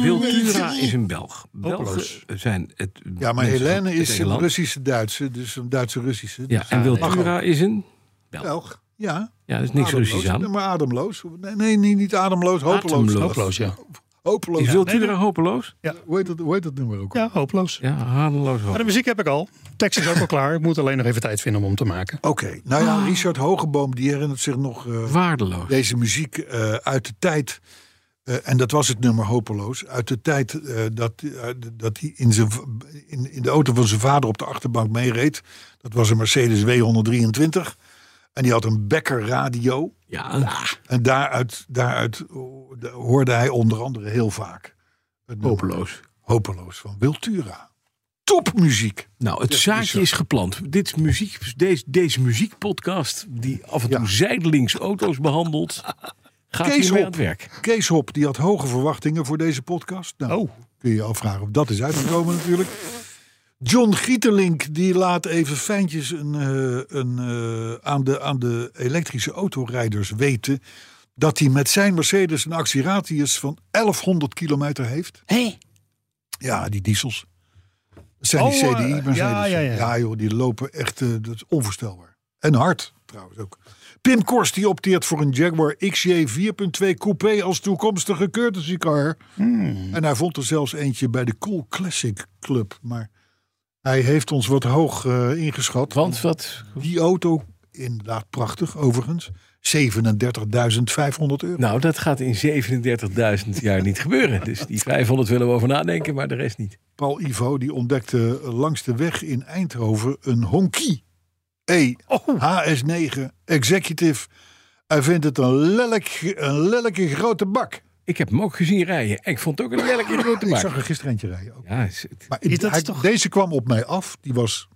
Speaker 2: Wiltura is een Belg. Belgen
Speaker 4: Hopeloos.
Speaker 2: zijn het.
Speaker 3: Ja, maar
Speaker 2: mensen
Speaker 3: Helene
Speaker 2: uit
Speaker 3: is een
Speaker 2: Engeland.
Speaker 3: Russische-Duitse, dus een Duitse-Russische.
Speaker 2: Ja, en Wiltura is een.
Speaker 3: Belg. Ja,
Speaker 2: Ja, er is niks
Speaker 3: ademloos.
Speaker 2: Russisch aan.
Speaker 3: Maar ademloos. Nee, nee, nee, niet ademloos, hopeloos.
Speaker 2: Ademloos.
Speaker 4: Hopeloos, ja.
Speaker 3: Hopeloos.
Speaker 2: Is
Speaker 4: nee,
Speaker 2: Wiltura
Speaker 4: nee.
Speaker 2: hopeloos?
Speaker 3: Hoe, heet dat, hoe heet dat nummer ook?
Speaker 4: Ja, hopeloos.
Speaker 2: Ja, hadeloos
Speaker 4: Maar
Speaker 2: hopeloos.
Speaker 4: de muziek heb ik al. Tekst is ook al klaar. Ik moet alleen nog even tijd vinden om hem te maken.
Speaker 3: Oké, nou ja, Richard Hogeboom die herinnert zich nog eh,
Speaker 2: Waardeloos.
Speaker 3: deze muziek eh, uit de tijd. eh, en dat was het nummer Hopeloos. Uit de tijd eh, dat, eh, dat hij in, zijn, v- in, in de auto van zijn vader op de achterbank meereed. Dat was een Mercedes W123. En die had een Becker radio.
Speaker 2: Ja,
Speaker 3: En daaruit, daaruit eh, hoorde hij onder andere heel vaak. het nummer
Speaker 2: hopeloos.
Speaker 3: Hopeloos van Wiltura. Topmuziek.
Speaker 2: Nou, het
Speaker 3: Ja, is
Speaker 2: zaadje
Speaker 3: zo.
Speaker 2: is geplant. Dit is muziek, deze, deze muziekpodcast, die af en toe
Speaker 3: Ja.
Speaker 2: zijdelings auto's behandelt, gaat
Speaker 3: Kees
Speaker 2: hier mee
Speaker 3: Hop.
Speaker 2: aan het werk.
Speaker 3: Kees Hop die had hoge verwachtingen voor deze podcast. Nou,
Speaker 4: Oh.
Speaker 3: kun je je afvragen of dat is uitgekomen natuurlijk. John Gieterlink die laat even fijntjes een, eh, een, eh, aan, de, aan de elektrische autorijders weten... dat hij met zijn Mercedes een actieradius van 1100 kilometer heeft. Hé? Ja, die diesels. Dat zijn die
Speaker 4: Oh, eh,
Speaker 3: CDI-Mercedes.
Speaker 4: ja, ja, ja.
Speaker 3: joh, die lopen echt, eh, dat is onvoorstelbaar. En hard trouwens ook. Pim Kors die opteert voor een Jaguar XJ 4.2 Coupé als toekomstige courtesy car. En hij vond er zelfs eentje bij de Cool Classic Club. Maar hij heeft ons wat hoog eh, ingeschat.
Speaker 6: Want wat?
Speaker 3: Die auto, inderdaad prachtig overigens, 37.500 euro.
Speaker 2: Nou, dat gaat in 37.000 jaar niet gebeuren. Dus die 500 willen we over nadenken, maar de rest niet.
Speaker 3: Paul Ivo die ontdekte langs de weg in Eindhoven een Honky E
Speaker 4: Oh.
Speaker 3: HS9 Executive. Hij vindt het een lelijk, een lelijke grote bak.
Speaker 2: Ik heb hem ook gezien rijden. En ik vond het ook een lelijke grote
Speaker 3: Ik zag
Speaker 2: maak.
Speaker 3: er gisteren eentje rijden ook.
Speaker 2: Ja, is het-
Speaker 3: Maar
Speaker 4: Is dat
Speaker 3: hij-
Speaker 4: toch-
Speaker 3: deze kwam op mij af. Die was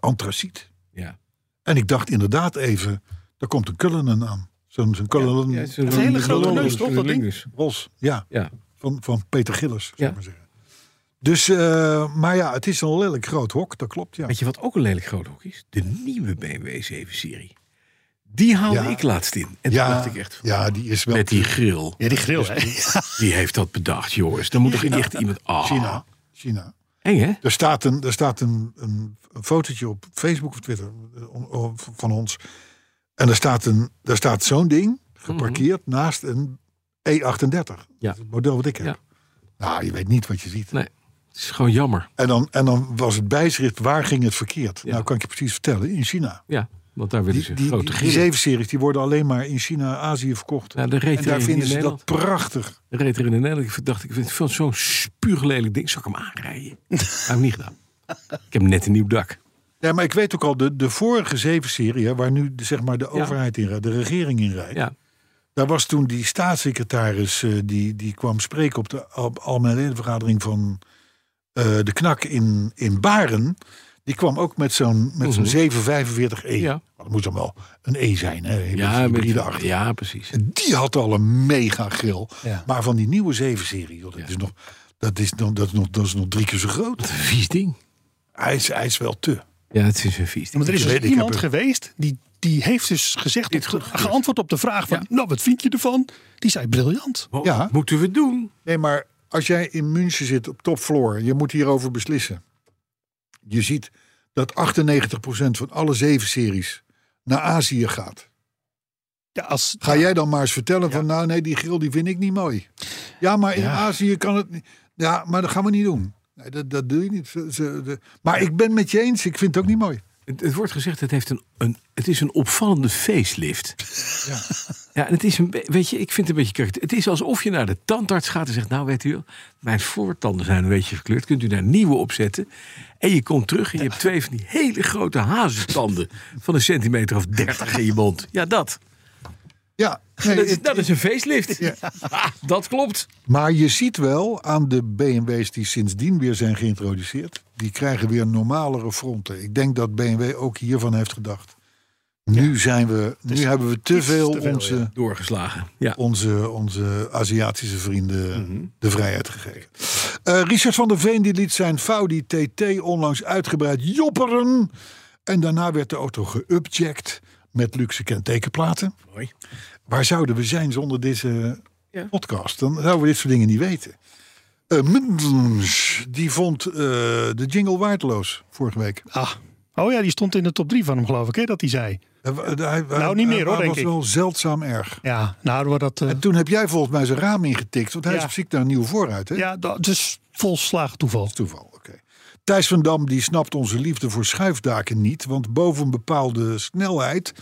Speaker 3: antraciet.
Speaker 2: ja.
Speaker 3: En ik dacht inderdaad even, daar komt een Cullinan aan. Zo'n zo'n Cullinan
Speaker 2: Ja,
Speaker 4: is een hele grote
Speaker 2: een-
Speaker 4: neus, toch,
Speaker 2: een
Speaker 4: dat ding?
Speaker 2: lingus.
Speaker 3: Ros. Ja,
Speaker 2: Ja.
Speaker 3: van, van Peter Gillis, zou
Speaker 2: Ja.
Speaker 3: ik maar zeggen. Dus, eh, maar ja, het is een lelijk groot hok, dat klopt, ja.
Speaker 2: Weet je wat ook een lelijk groot hok is? De nieuwe BMW 7-serie. Die haalde
Speaker 3: Ja.
Speaker 2: ik laatst in. En
Speaker 3: ja,
Speaker 2: toen dacht ik echt van,
Speaker 3: ja, die is wel...
Speaker 2: met die grill.
Speaker 4: Ja, die grill, hè?
Speaker 2: Wie heeft dat bedacht, jongens? Dan moet toch echt iemand... Ah,
Speaker 3: China. China.
Speaker 2: Eng, hè?
Speaker 3: Er staat, een, er staat een, een, een fotootje op Facebook of Twitter eh, om- om- van ons. En er staat, een- daar staat zo'n ding geparkeerd naast een E38.
Speaker 2: Mhm. Ja.
Speaker 3: Dat is het model wat ik heb.
Speaker 2: Ja.
Speaker 3: Nou, je weet niet wat je ziet.
Speaker 2: Nee, het is gewoon jammer.
Speaker 3: En dan, en dan was het bijschrift, waar ging het verkeerd? Nou, kan ik je precies vertellen, in China.
Speaker 2: Ja, want daar willen
Speaker 3: Die,
Speaker 2: ze
Speaker 3: die, die,
Speaker 2: grote
Speaker 3: die
Speaker 2: grillen.
Speaker 3: zeven series die worden alleen maar in China, Azië verkocht.
Speaker 2: Ja, de reed
Speaker 3: en
Speaker 2: er
Speaker 3: daar
Speaker 2: in
Speaker 3: vinden ze
Speaker 2: Nederland.
Speaker 3: dat prachtig.
Speaker 2: Er reed er in de Nederland. Ik dacht, ik vind het zo'n spuuglelijk ding. Zal ik hem aanrijden? Dat heb ik niet gedaan. Ik heb net een nieuw dak.
Speaker 3: Ja, maar ik weet ook al, de, de vorige zeven serie, hè, waar nu de, zeg maar, de overheid in rijdt, de regering in rijdt.
Speaker 2: Ja,
Speaker 3: Daar was toen die staatssecretaris eh, die, die kwam spreken op de al- algemene ledenvergadering van eh, de KNAK in, in Baren. Die kwam ook met zo'n met zo'n 745E.
Speaker 2: Mhm. Ja.
Speaker 3: Maar Dat moet dan wel een E zijn, hè? Een
Speaker 2: ja,
Speaker 3: beetje hybride
Speaker 2: met-
Speaker 3: achter.
Speaker 2: ja, precies.
Speaker 3: Die had al een mega grill.
Speaker 4: Ja.
Speaker 3: Maar van die nieuwe 7-serie, joh, dat, is nog, dat, is nog, dat, is nog, dat is nog drie keer zo groot.
Speaker 2: Vies ding.
Speaker 3: Hij is, hij is wel te.
Speaker 2: Ja, het is een vies ding.
Speaker 4: Maar er is
Speaker 3: Ik weet,
Speaker 4: dus
Speaker 3: ik heb
Speaker 4: iemand
Speaker 3: er-
Speaker 4: geweest die, die heeft dus gezegd, op de- geantwoord op de vraag van, nou wat vind je ervan? Die zei briljant.
Speaker 2: Wat
Speaker 3: Ja.
Speaker 2: moeten we doen?
Speaker 3: Nee, maar als jij in München zit op topfloor, je moet hierover beslissen. Je ziet dat 98% van alle zeven series naar Azië gaat.
Speaker 4: Ja, als,
Speaker 3: Ga jij dan maar eens vertellen van nou nee, die grill die vind ik niet mooi. Ja, maar in Azië kan het niet. Ja, maar dat gaan we niet doen. Nee, dat, dat doe je niet. Ze- ze- de- maar ik ben met je eens, ik vind het ook niet mooi.
Speaker 2: Het, het wordt gezegd, het, heeft een, een, het is een opvallende facelift. Ja, en het is een be- weet je, ik vind het een beetje correct. Het is alsof je naar de tandarts gaat en zegt: Nou, weet u, wel, mijn voortanden zijn een beetje verkleurd. Kunt u daar nieuwe op zetten? En je komt terug en je hebt twee van die hele grote hazentanden van een centimeter of dertig in je mond. Ja, dat.
Speaker 3: Ja, nee,
Speaker 2: Dat, is,
Speaker 3: het-
Speaker 2: dat is een facelift. Ah, dat klopt.
Speaker 3: maar je ziet wel aan de BMW's die sindsdien weer zijn geïntroduceerd. Die krijgen weer normalere fronten. Ik denk dat BMW ook hiervan heeft gedacht. Nu, zijn we, nu hebben we te
Speaker 4: iets
Speaker 3: veel,
Speaker 4: te veel,
Speaker 3: onze,
Speaker 4: ja.
Speaker 2: Doorgeslagen. Ja.
Speaker 3: onze, onze Aziatische vrienden
Speaker 4: Mhm.
Speaker 3: de vrijheid gegeven. Eh, Richard van der Veen die liet zijn Faudi TT onlangs uitgebreid jopperen. En daarna werd de auto geupjacked met luxe kentekenplaten.
Speaker 2: Mooi.
Speaker 3: Waar zouden we zijn zonder deze
Speaker 2: Ja.
Speaker 3: podcast? Dan zouden we dit soort dingen niet weten. Eh Mundens, die vond eh, de jingle waardeloos vorige week.
Speaker 4: Ah. Oh ja, die stond in de top 3 van hem, geloof ik, hè, dat hij zei.
Speaker 3: Eh, w- eh, hij-
Speaker 4: Nou, niet
Speaker 3: hij-
Speaker 4: meer, hoor,
Speaker 3: Hij
Speaker 4: denk
Speaker 3: was
Speaker 4: ik.
Speaker 3: wel zeldzaam erg.
Speaker 4: Ja, nou, door dat. eh,
Speaker 3: En toen heb jij volgens mij zijn raam ingetikt, want hij is
Speaker 4: Ja.
Speaker 3: op ziek naar een nieuw vooruit. Hè?
Speaker 4: ja, dat is volslagen toeval.
Speaker 3: Toeval, oké. Thijs van Dam die snapt onze liefde voor schuifdaken niet, want boven een bepaalde snelheid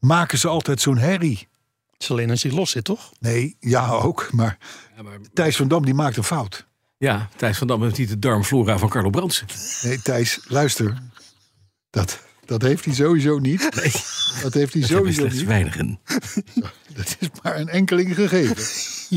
Speaker 3: maken ze altijd zo'n herrie.
Speaker 4: Het is alleen als hij los zit, toch?
Speaker 3: Nee, ja ook, maar Thijs van Dam die maakt een fout.
Speaker 2: Ja, Thijs van Dam heeft niet de darmflora van Carlo Brandsen.
Speaker 3: Nee, Thijs, luister. Dat, dat heeft hij sowieso niet. Dat heeft hij
Speaker 2: Hebben
Speaker 3: sowieso
Speaker 2: slechts
Speaker 3: niet.
Speaker 2: weinigen.
Speaker 3: Dat is maar een enkeling gegeven.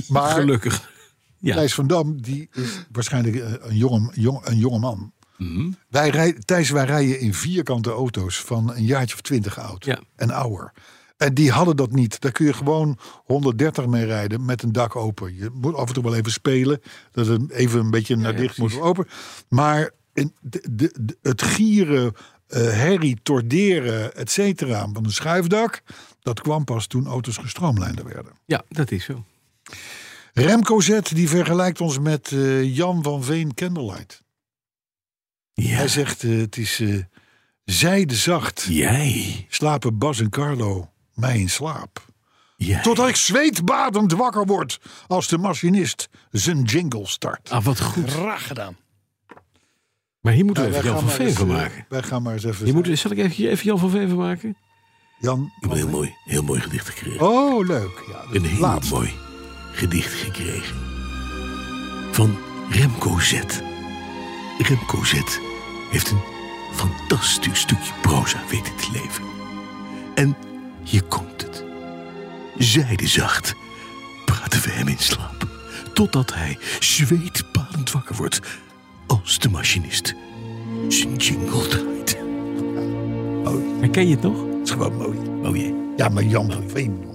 Speaker 3: Maar
Speaker 2: Gelukkig. Ja.
Speaker 3: Thijs van Dam, die is waarschijnlijk eh, een jonge, jong, een jonge man.
Speaker 2: Mhm.
Speaker 3: Wij rij, Thijs, wij rijden in vierkante auto's van een jaartje of twintig oud
Speaker 2: Ja.
Speaker 3: en ouder. En die hadden dat niet. Daar kun je gewoon 130 mee rijden met een dak open. Je moet af en toe wel even spelen. Dat het even een beetje naar dicht moet open. Maar in de, de, de- het gieren, eh herrie, torderen, et cetera, van een schuifdak... dat kwam pas toen auto's gestroomlijnder werden.
Speaker 2: ja, dat is zo.
Speaker 3: Remco Zet die vergelijkt ons met eh, Jan van Veen Candlelight.
Speaker 2: Ja.
Speaker 3: Hij zegt, eh, het is eh zijdezacht.
Speaker 2: Jij.
Speaker 3: Slapen Bas en Carlo mij in slaap.
Speaker 2: Jij.
Speaker 3: Totdat ik zweetbadend wakker word als de machinist zijn jingle start.
Speaker 2: Ah, wat goed.
Speaker 4: Graag gedaan.
Speaker 2: Maar hier moeten
Speaker 3: Nou,
Speaker 2: we even
Speaker 3: wij
Speaker 2: Jan
Speaker 3: gaan
Speaker 2: van
Speaker 3: maar
Speaker 2: Veen
Speaker 3: eens,
Speaker 2: van
Speaker 3: eh,
Speaker 2: maken.
Speaker 3: Wij gaan maar eens even...
Speaker 2: Je moet, zal ik even, even Jan van Veen van maken?
Speaker 3: Jan...
Speaker 6: Ik heb een heel mooi, heel mooi gedicht gekregen.
Speaker 3: Oh, leuk. Ja,
Speaker 6: een heel
Speaker 3: laat.
Speaker 6: mooi gedicht gekregen. Van Remco Z. Remco Z heeft een fantastisch stukje proza weten te leven. En hier komt het. Zijdezacht praten we hem in slaap. Totdat hij zweetbalend wakker wordt als de machinist zijn jingle draait.
Speaker 2: Herken je het nog?
Speaker 3: Het is gewoon mooi.
Speaker 6: Oh jee.
Speaker 3: Ja, maar Jan van Veen. jongen.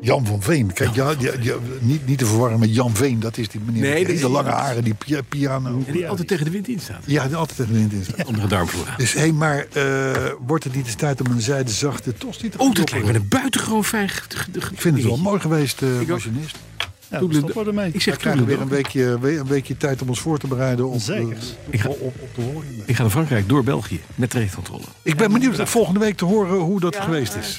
Speaker 3: Jan van Veen. Kijk, ja, ja, ja, niet, niet te verwarren met Jan Veen. Dat is die meneer
Speaker 2: Nee,
Speaker 3: met
Speaker 2: dat
Speaker 3: die,
Speaker 2: is
Speaker 3: de lange
Speaker 2: iemand.
Speaker 3: haren, die pia- piano.
Speaker 2: En die altijd tegen de wind in staat.
Speaker 3: Ja, altijd een wind in staat.
Speaker 2: Andere darmflora.
Speaker 3: Dus hé, maar eh, wordt het niet eens tijd om een zijdezachte tosti te
Speaker 2: Oh, dat
Speaker 3: verkopen?
Speaker 2: lijkt me een buitengewoon fijn ge- ge- ge-
Speaker 3: Ik vind het wel
Speaker 2: dingetje.
Speaker 3: mooi geweest, eh
Speaker 2: ook.
Speaker 3: machinist.
Speaker 4: Ja, dan
Speaker 2: Toedelen-
Speaker 4: stoppen we ermee.
Speaker 2: Ik
Speaker 3: We
Speaker 2: zeg
Speaker 3: krijgen weer een
Speaker 2: toedelen.
Speaker 3: weekje, we- een weekje tijd om ons voor te bereiden op,
Speaker 4: Zeker.
Speaker 3: eh,
Speaker 2: Ik ga-
Speaker 3: op, op, op de horen.
Speaker 2: Ik ga naar Frankrijk door België met treincontrole.
Speaker 3: Ik ben benieuwd eh, volgende week te horen hoe dat geweest is.